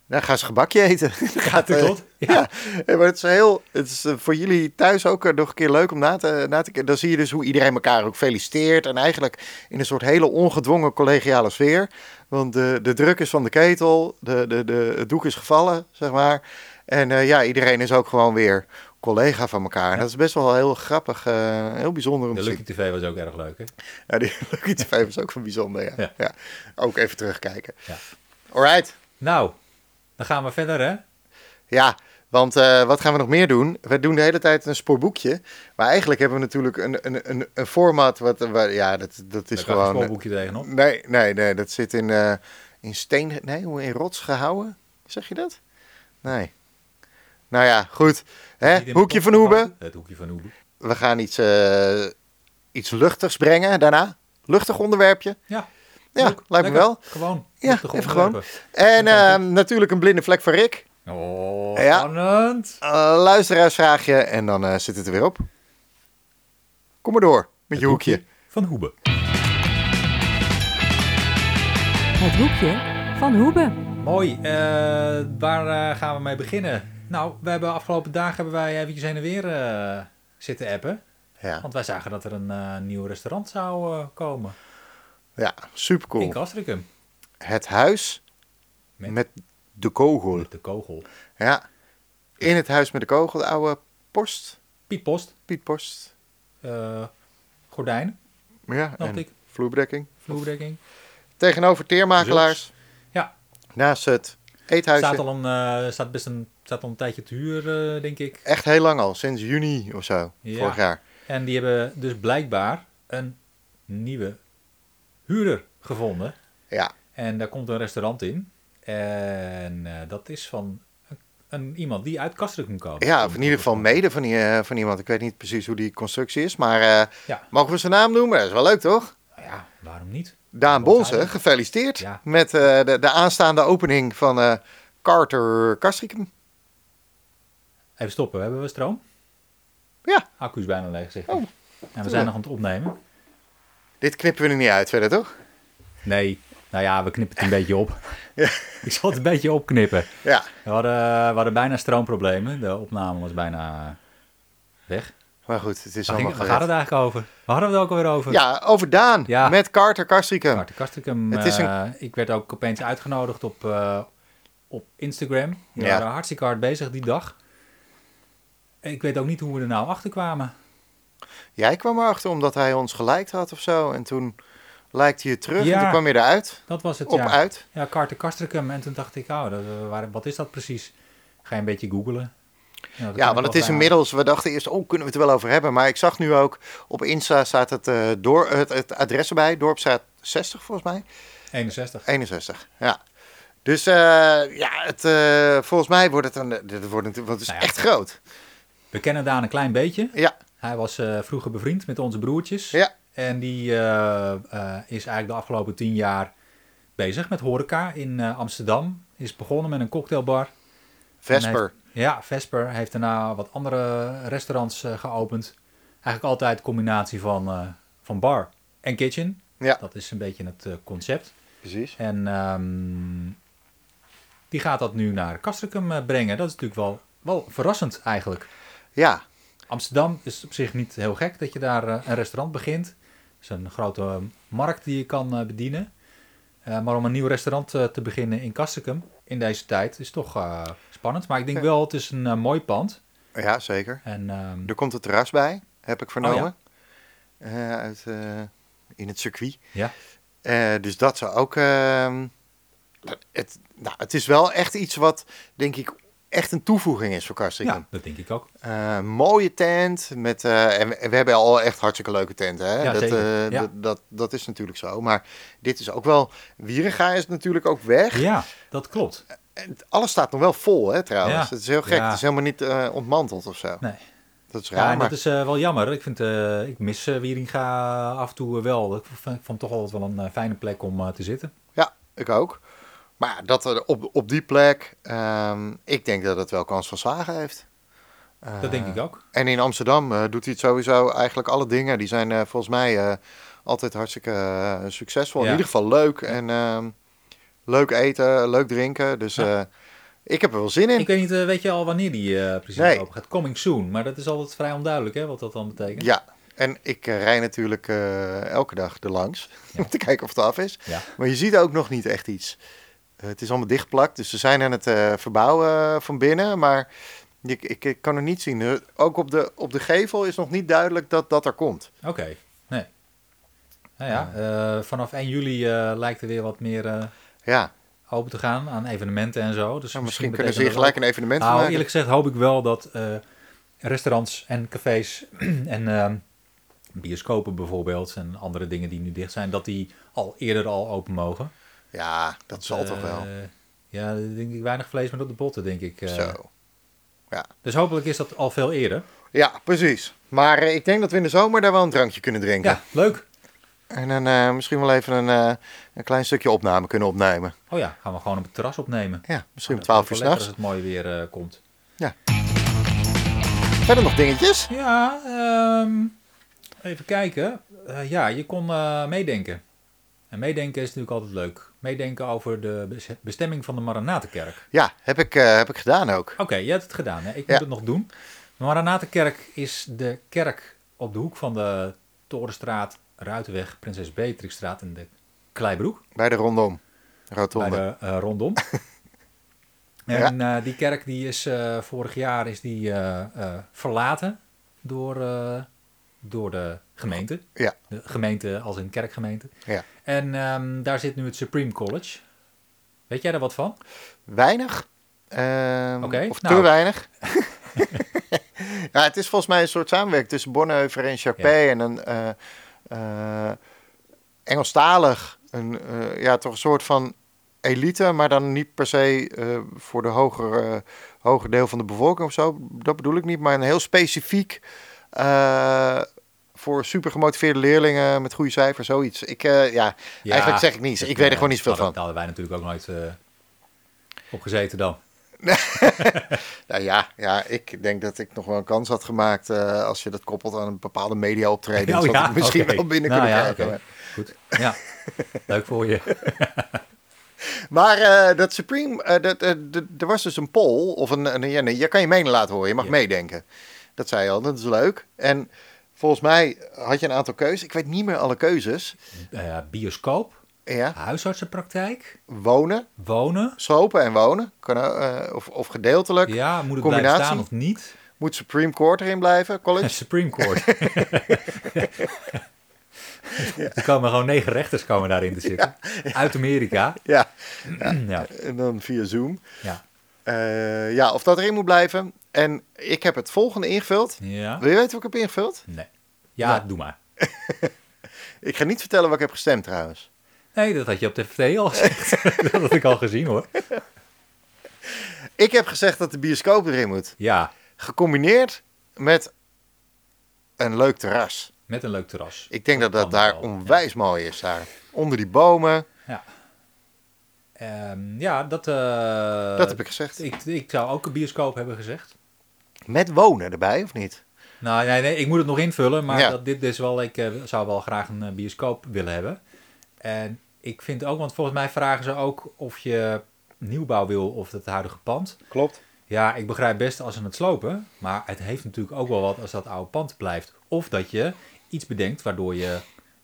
[SPEAKER 2] dan gaan ze gebakje eten.
[SPEAKER 1] gaat het
[SPEAKER 2] eh,
[SPEAKER 1] tot?
[SPEAKER 2] Ja, eh, maar het is, heel, het is eh, voor jullie thuis ook eh, nog een keer leuk om na te, na te kijken. Dan zie je dus hoe iedereen elkaar ook feliciteert. En eigenlijk in een soort hele ongedwongen collegiale sfeer. Want eh, de, de druk is van de ketel, de, de, de, het doek is gevallen, zeg maar. En eh, ja, iedereen is ook gewoon weer collega van elkaar. En dat is best wel heel grappig, eh, heel bijzonder om
[SPEAKER 1] De
[SPEAKER 2] te
[SPEAKER 1] Lucky
[SPEAKER 2] zien.
[SPEAKER 1] TV was ook erg leuk, hè?
[SPEAKER 2] Ja, die Lucky TV is ook wel bijzonder, ja.
[SPEAKER 1] Ja.
[SPEAKER 2] Ja. Ook even terugkijken.
[SPEAKER 1] Ja.
[SPEAKER 2] Alright.
[SPEAKER 1] Nou, dan gaan we verder, hè?
[SPEAKER 2] Ja, want eh, wat gaan we nog meer doen? We doen de hele tijd een spoorboekje. Maar eigenlijk hebben we natuurlijk een, een, een, een format. Wat, waar- ja, dat, dat is
[SPEAKER 1] Daar kan je een
[SPEAKER 2] gewoon. eh,
[SPEAKER 1] schoolboekje tegenop.
[SPEAKER 2] Nee, nee, nee. Dat zit in, eh, in steen. Nee, hoe in rots gehouden? Zeg je dat? Nee. Nou ja, goed.
[SPEAKER 1] Niet in
[SPEAKER 2] Hè?
[SPEAKER 1] mijn
[SPEAKER 2] Hoekje van
[SPEAKER 1] podcast,
[SPEAKER 2] Hoeben.
[SPEAKER 1] maar Het hoekje van Hoeben.
[SPEAKER 2] We gaan iets, eh, iets luchtigs brengen daarna. Luchtig onderwerpje.
[SPEAKER 1] Ja. leuk,
[SPEAKER 2] Ja, lijkt me
[SPEAKER 1] lekker.
[SPEAKER 2] wel.
[SPEAKER 1] Gewoon.
[SPEAKER 2] Ja,
[SPEAKER 1] Luchtig
[SPEAKER 2] even gewoon.
[SPEAKER 1] onderwerpen.
[SPEAKER 2] En
[SPEAKER 1] Dat kan
[SPEAKER 2] eh, natuurlijk een blinde vlek van Rick.
[SPEAKER 1] Oh,
[SPEAKER 2] Ja.
[SPEAKER 1] spannend.
[SPEAKER 2] Eh, luisteraarsvraagje en dan eh, zit het er weer op. Kom maar door met je
[SPEAKER 1] Het
[SPEAKER 2] hoekje.
[SPEAKER 1] Van Hoeben.
[SPEAKER 3] Het hoekje van Hoeben.
[SPEAKER 1] Mooi. eh, waar eh, gaan we mee beginnen? Nou, we hebben afgelopen dagen hebben wij eventjes heen en weer eh, zitten appen.
[SPEAKER 2] Ja,
[SPEAKER 1] Want wij zagen dat er een eh, nieuw restaurant zou eh, komen.
[SPEAKER 2] ja super
[SPEAKER 1] In
[SPEAKER 2] cool.
[SPEAKER 1] Castricum.
[SPEAKER 2] Het huis
[SPEAKER 1] Met-
[SPEAKER 2] met, de kogel.
[SPEAKER 1] Met de kogel.
[SPEAKER 2] Ja, in het huis met de kogel, de oude post,
[SPEAKER 1] Piet Post.
[SPEAKER 2] Piet Post.
[SPEAKER 1] eh, gordijn.
[SPEAKER 2] Ja,
[SPEAKER 1] Dacht
[SPEAKER 2] en
[SPEAKER 1] Oh, ik.
[SPEAKER 2] vloerbedekking.
[SPEAKER 1] Vloerdekking.
[SPEAKER 2] Tegenover Teermakelaars,
[SPEAKER 1] Ja,
[SPEAKER 2] naast het eethuisje.
[SPEAKER 1] staat al een, eh, staat best een, staat al een tijdje te huur, eh, denk ik.
[SPEAKER 2] Echt heel lang al, sinds juni of zo,
[SPEAKER 1] Ja.
[SPEAKER 2] vorig jaar.
[SPEAKER 1] En die hebben dus blijkbaar een nieuwe huurder gevonden.
[SPEAKER 2] Ja,
[SPEAKER 1] En daar komt een restaurant in. En eh, dat is van een, een iemand die uit Kastrikum moet komen.
[SPEAKER 2] ja of in ieder geval mede van, die, eh, van iemand. Ik weet niet precies hoe die constructie is, maar eh,
[SPEAKER 1] Ja.
[SPEAKER 2] mogen we zijn naam noemen? Dat is wel leuk, toch?
[SPEAKER 1] Nou ja, waarom niet?
[SPEAKER 2] Daan
[SPEAKER 1] Wat
[SPEAKER 2] Bonsen,
[SPEAKER 1] eigenlijk-
[SPEAKER 2] gefeliciteerd
[SPEAKER 1] Ja.
[SPEAKER 2] met eh, de, de aanstaande opening van eh, Carter Kastrikum.
[SPEAKER 1] Even stoppen, hebben we stroom?
[SPEAKER 2] Ja.
[SPEAKER 1] Accu is bijna leeg, zeg ik.
[SPEAKER 2] Oh,
[SPEAKER 1] en we zijn nog aan het opnemen.
[SPEAKER 2] Dit knippen we er niet uit verder, toch?
[SPEAKER 1] Nee, nou ja, we knippen het een beetje op. Ik zal het een beetje opknippen.
[SPEAKER 2] Ja,
[SPEAKER 1] We hadden, we hadden bijna stroomproblemen. De opname was bijna eh, weg.
[SPEAKER 2] maar goed, het is
[SPEAKER 1] Waar, ging-
[SPEAKER 2] allemaal
[SPEAKER 1] waar gaat het
[SPEAKER 2] gered.
[SPEAKER 1] eigenlijk over? Waar hadden we het ook alweer over?
[SPEAKER 2] Ja, over Daan
[SPEAKER 1] Ja.
[SPEAKER 2] met Carter Kastrikum.
[SPEAKER 1] Maarten Kastrikum.
[SPEAKER 2] Ah. Het is een-
[SPEAKER 1] eh, ik werd ook opeens uitgenodigd op, eh, op Instagram. We
[SPEAKER 2] Ja.
[SPEAKER 1] waren hartstikke hard bezig die dag. Ik weet ook niet hoe we er nou achter kwamen.
[SPEAKER 2] Jij kwam erachter omdat hij ons geliked had of zo. En toen likte hij je terug
[SPEAKER 1] Ja.
[SPEAKER 2] en toen kwam je eruit.
[SPEAKER 1] Dat was het,
[SPEAKER 2] Op
[SPEAKER 1] ja.
[SPEAKER 2] uit.
[SPEAKER 1] Ja, Carter Kastrikum. En toen dacht ik, oh, dat, eh, waar- wat is dat precies? Ga je een beetje googlen. dat kan
[SPEAKER 2] Ja,
[SPEAKER 1] ik
[SPEAKER 2] want
[SPEAKER 1] wel
[SPEAKER 2] het is
[SPEAKER 1] vragen.
[SPEAKER 2] inmiddels, we dachten eerst, oh, kunnen we het er wel over hebben. Maar ik zag nu ook, op Insta staat het, eh, door, het, het adres erbij, Dorpstraat 60 volgens mij.
[SPEAKER 1] 61.
[SPEAKER 2] 61, ja. Dus eh, ja, het, eh, volgens mij wordt het een. Dit wordt natuurlijk, want het is
[SPEAKER 1] Nou ja.
[SPEAKER 2] echt groot.
[SPEAKER 1] We kennen Daan een klein beetje.
[SPEAKER 2] Ja,
[SPEAKER 1] Hij was eh, vroeger bevriend met onze broertjes.
[SPEAKER 2] Ja.
[SPEAKER 1] En die eh, eh, is eigenlijk de afgelopen tien jaar bezig met horeca in eh, Amsterdam. Is begonnen met een cocktailbar.
[SPEAKER 2] Vesper.
[SPEAKER 1] Ja, Vesper heeft daarna wat andere restaurants eh, geopend. Eigenlijk altijd een combinatie van, eh, van bar en kitchen.
[SPEAKER 2] Ja.
[SPEAKER 1] Dat is een beetje het eh, concept.
[SPEAKER 2] Precies.
[SPEAKER 1] En ehm, die gaat dat nu naar Castricum eh, brengen. Dat is natuurlijk wel, wel verrassend eigenlijk.
[SPEAKER 2] Ja,
[SPEAKER 1] Amsterdam is op zich niet heel gek dat je daar eh, een restaurant begint. Het is een grote eh, markt die je kan eh, bedienen. Eh, maar om een nieuw restaurant eh, te beginnen in Castricum in deze tijd is toch eh, spannend. Maar ik denk
[SPEAKER 2] Ja.
[SPEAKER 1] wel, het is een eh, mooi pand.
[SPEAKER 2] ja, zeker.
[SPEAKER 1] En ehm,
[SPEAKER 2] Er komt een terras bij, heb ik vernomen.
[SPEAKER 1] Oh,
[SPEAKER 2] Eh, uit, eh, in het circuit.
[SPEAKER 1] Ja.
[SPEAKER 2] Eh, dus dat zou ook. ehm, het, nou, het is wel echt iets wat, denk ik, echt een toevoeging is voor Castricum.
[SPEAKER 1] ja, dat denk ik ook.
[SPEAKER 2] Eh, mooie tent. Met, eh, en we, en we hebben al echt hartstikke leuke tenten. Hè?
[SPEAKER 1] Ja,
[SPEAKER 2] dat,
[SPEAKER 1] zeker.
[SPEAKER 2] eh,
[SPEAKER 1] Ja.
[SPEAKER 2] dat, dat, dat is natuurlijk zo. Maar dit is ook wel... Wieringa is natuurlijk ook weg.
[SPEAKER 1] Ja, dat klopt.
[SPEAKER 2] En het- alles staat nog wel vol, hè, trouwens.
[SPEAKER 1] Ja.
[SPEAKER 2] Het is heel gek.
[SPEAKER 1] Ja.
[SPEAKER 2] Het is helemaal niet eh, ontmanteld of zo.
[SPEAKER 1] Nee.
[SPEAKER 2] Dat is raar,
[SPEAKER 1] Ja, en
[SPEAKER 2] maar
[SPEAKER 1] dat is eh, wel jammer. Ik, vind, eh, ik mis eh, Wieringa af en toe eh, wel. Ik vond, ik vond toch altijd wel een eh, fijne plek om eh, te zitten.
[SPEAKER 2] ik ook. Maar ja, dat er op, op die plek... ehm, ik denk dat het wel kans van slagen heeft. Eh,
[SPEAKER 1] Dat
[SPEAKER 2] Ah.
[SPEAKER 1] denk ik ook.
[SPEAKER 2] En in Amsterdam eh, doet hij het sowieso eigenlijk alle dingen. Die zijn eh, volgens mij eh, altijd hartstikke eh, succesvol.
[SPEAKER 1] Ja.
[SPEAKER 2] In ieder geval leuk. En ehm, leuk eten, leuk drinken. Dus
[SPEAKER 1] Ja.
[SPEAKER 2] eh, ik heb er wel zin in.
[SPEAKER 1] Ik weet niet, eh, weet je al wanneer die eh, precies
[SPEAKER 2] Nee.
[SPEAKER 1] open gaat? Coming soon. Maar dat is altijd vrij onduidelijk, hè, wat dat dan betekent.
[SPEAKER 2] Ja, en ik eh, rij natuurlijk eh, elke dag er langs. om te kijken of het af is.
[SPEAKER 1] Ja.
[SPEAKER 2] Maar je ziet ook nog niet echt iets. Eh, het is allemaal dichtplakt. Dus ze zijn aan het eh, verbouwen van binnen. Maar ik, ik, ik kan het niet zien. Eh, Ook op de, op de gevel is nog niet duidelijk dat dat er komt.
[SPEAKER 1] Oké, nee. Nou ja, eh, vanaf 1 juli eh, lijkt er weer wat meer eh,
[SPEAKER 2] Ja,
[SPEAKER 1] open te gaan aan evenementen en zo. Dus
[SPEAKER 2] nou, misschien kunnen ze hier
[SPEAKER 1] betekent dat
[SPEAKER 2] gelijk een evenement van
[SPEAKER 1] Nou,
[SPEAKER 2] maken.
[SPEAKER 1] eerlijk gezegd hoop ik wel dat eh, restaurants en cafés en ehm, bioscopen bijvoorbeeld en andere dingen die nu dicht zijn, dat die al eerder al open mogen.
[SPEAKER 2] Ja, dat zal toch wel.
[SPEAKER 1] Eh, Ja, daar denk ik weinig vlees meer op de botten, denk ik. eh.
[SPEAKER 2] Zo.
[SPEAKER 1] Dus hopelijk is dat al veel eerder.
[SPEAKER 2] Ja, precies. Maar eh, ik denk dat we in de zomer daar wel een drankje kunnen drinken.
[SPEAKER 1] Ja, leuk.
[SPEAKER 2] En dan eh, misschien wel even een, eh, een klein stukje opname kunnen opnemen.
[SPEAKER 1] Oh ja, gaan we gewoon op het terras opnemen.
[SPEAKER 2] Ja, misschien om
[SPEAKER 1] Dat wordt
[SPEAKER 2] 12
[SPEAKER 1] wel lekker
[SPEAKER 2] uur s'nachts.
[SPEAKER 1] Als het mooi weer eh, komt.
[SPEAKER 2] Verder nog dingetjes?
[SPEAKER 1] Ja, ehm, even kijken. Eh, ja, je kon eh, meedenken. En meedenken is natuurlijk altijd leuk. Meedenken over de bes- bestemming van de Maranatenkerk.
[SPEAKER 2] Ja, heb ik, eh, heb ik gedaan ook.
[SPEAKER 1] Oké, je hebt het gedaan. Hè? Ik
[SPEAKER 2] Ja.
[SPEAKER 1] moet het nog doen. De Maranatenkerk is de kerk op de hoek van de Torenstraat, Ruitenweg, Prinses Beatrixstraat en de Kleibroek.
[SPEAKER 2] Bij de rondom. Rotonde.
[SPEAKER 1] Bij de eh, rondom. en eh, die kerk die is eh, vorig jaar is die, eh, eh, verlaten door, eh, door de gemeente.
[SPEAKER 2] Ja.
[SPEAKER 1] De gemeente als een kerkgemeente.
[SPEAKER 2] Ja.
[SPEAKER 1] En ehm, daar zit nu het Supreme College. Weet jij daar wat van?
[SPEAKER 2] Weinig. Ehm,
[SPEAKER 1] Oké,
[SPEAKER 2] of
[SPEAKER 1] nou.
[SPEAKER 2] te weinig. ja, het is volgens mij een soort samenwerking tussen Bonheuver en Charpé en een eh, eh, Engelstalig. Een, eh, ja, toch een soort van elite, maar dan niet per se eh, voor de hoger, eh, hoger deel van de bevolking of zo. Dat bedoel ik niet, maar een heel specifiek eh, voor super gemotiveerde leerlingen met goede cijfers, zoiets. Ik, eh, ja,
[SPEAKER 1] Ja,
[SPEAKER 2] eigenlijk zeg ik niets. Ik weet er gewoon niet zoveel van.
[SPEAKER 1] Daar hadden wij natuurlijk ook nooit eh, op gezeten dan.
[SPEAKER 2] Nou ja, ja, ik denk dat ik nog wel een kans had gemaakt eh, als je dat koppelt aan een bepaalde media optreden.
[SPEAKER 1] Oh
[SPEAKER 2] zou
[SPEAKER 1] ja,
[SPEAKER 2] ik misschien
[SPEAKER 1] oké.
[SPEAKER 2] wel binnen
[SPEAKER 1] Nou
[SPEAKER 2] kunnen
[SPEAKER 1] ja,
[SPEAKER 2] krijgen.
[SPEAKER 1] oké. Goed. Ja, leuk voor je.
[SPEAKER 2] Maar eh, dat Supreme, eh, dat, eh, d- er was dus een poll, of een, een, ja, nee, je kan je mening laten horen, je mag
[SPEAKER 1] Ja.
[SPEAKER 2] meedenken. Dat zei je al, dat is leuk. En volgens mij had je een aantal keuzes, ik weet niet meer alle keuzes.
[SPEAKER 1] Eh, bioscoop,
[SPEAKER 2] Ja,
[SPEAKER 1] huisartsenpraktijk,
[SPEAKER 2] wonen,
[SPEAKER 1] wonen.
[SPEAKER 2] slopen en wonen, kan, ook, eh, of, of gedeeltelijk.
[SPEAKER 1] Ja, moet het
[SPEAKER 2] Combinatie?
[SPEAKER 1] blijven staan of niet?
[SPEAKER 2] Moet Supreme Court erin blijven, college?
[SPEAKER 1] Supreme Court. Er komen gewoon negen rechters komen daarin te zitten. Uit Amerika.
[SPEAKER 2] ja,
[SPEAKER 1] Ja,
[SPEAKER 2] en dan via Zoom.
[SPEAKER 1] ja.
[SPEAKER 2] Eh, ja, of dat erin moet blijven. En ik heb het volgende ingevuld.
[SPEAKER 1] ja.
[SPEAKER 2] Wil je weten wat ik heb ingevuld?
[SPEAKER 1] Nee. Ja, doe maar.
[SPEAKER 2] Ik ga niet vertellen wat ik heb gestemd trouwens.
[SPEAKER 1] Nee, dat had je op de FT al gezegd. dat had ik al gezien hoor.
[SPEAKER 2] Ik heb gezegd dat de bioscoop erin moet.
[SPEAKER 1] Ja,
[SPEAKER 2] Gecombineerd met een leuk terras.
[SPEAKER 1] met een leuk terras.
[SPEAKER 2] Ik denk dat dat
[SPEAKER 1] kan
[SPEAKER 2] daar
[SPEAKER 1] wel,
[SPEAKER 2] onwijs mooi is. Daar. Onder die bomen.
[SPEAKER 1] Ehm, ja, dat, eh,
[SPEAKER 2] dat heb ik gezegd.
[SPEAKER 1] ik. Ik zou ook een bioscoop hebben gezegd.
[SPEAKER 2] Met wonen erbij, of niet?
[SPEAKER 1] Nou, nee, nee, ik moet het nog invullen, maar
[SPEAKER 2] Ja.
[SPEAKER 1] dat, dit is wel, ik eh, zou wel graag een eh, bioscoop willen hebben. En ik vind ook, want volgens mij vragen ze ook of je nieuwbouw wil of het huidige pand.
[SPEAKER 2] Klopt.
[SPEAKER 1] Ja, ik begrijp best als ze het slopen, maar het heeft natuurlijk ook wel wat als dat oude pand blijft. Of dat je iets bedenkt waardoor je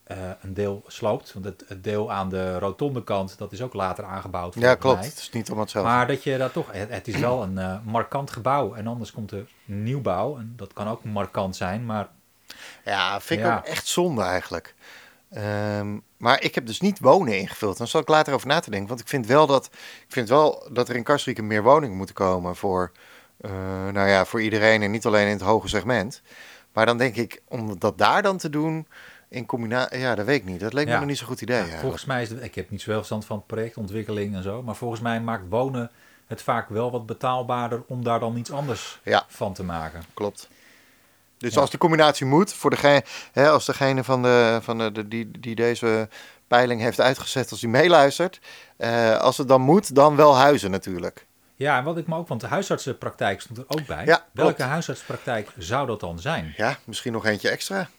[SPEAKER 1] eh, een deel sloopt, want het, het deel aan de rotonde kant, dat is ook later aangebouwd.
[SPEAKER 2] Ja,
[SPEAKER 1] volgens
[SPEAKER 2] klopt.
[SPEAKER 1] mij.
[SPEAKER 2] Het is niet allemaal hetzelfde.
[SPEAKER 1] Maar dat je dat toch, het, het is wel een eh, markant gebouw. En anders komt er nieuwbouw. En dat kan ook markant zijn. Maar
[SPEAKER 2] Ja, vind ik
[SPEAKER 1] Ja.
[SPEAKER 2] ook echt zonde eigenlijk. Ehm, maar ik heb dus niet wonen ingevuld. Dan zal ik later over na te denken. Want ik vind wel dat, ik vind wel dat er in Kastrikum meer woningen moeten komen voor, eh, nou ja, voor iedereen en niet alleen in het hoge segment. Maar dan denk ik, om dat daar dan te doen in combinatie... Ja, dat weet ik niet. Dat leek me
[SPEAKER 1] Ja.
[SPEAKER 2] nog niet zo'n goed idee
[SPEAKER 1] ja,
[SPEAKER 2] eigenlijk.
[SPEAKER 1] volgens mij is het, ik heb niet zoveel verstand van projectontwikkeling en zo. Maar volgens mij maakt wonen het vaak wel wat betaalbaarder om daar dan iets anders
[SPEAKER 2] Ja.
[SPEAKER 1] van te maken.
[SPEAKER 2] Klopt. Dus
[SPEAKER 1] Ja.
[SPEAKER 2] als die combinatie moet, voor degene, hè, als degene van de, van de, de- die, die deze peiling heeft uitgezet, als die meeluistert, eh, als het dan moet, dan wel huizen natuurlijk.
[SPEAKER 1] Ja, en wat ik me ook, want de huisartsenpraktijk stond er ook bij.
[SPEAKER 2] Ja, klopt.
[SPEAKER 1] Welke huisartsenpraktijk zou dat dan zijn?
[SPEAKER 2] Ja, misschien nog eentje extra.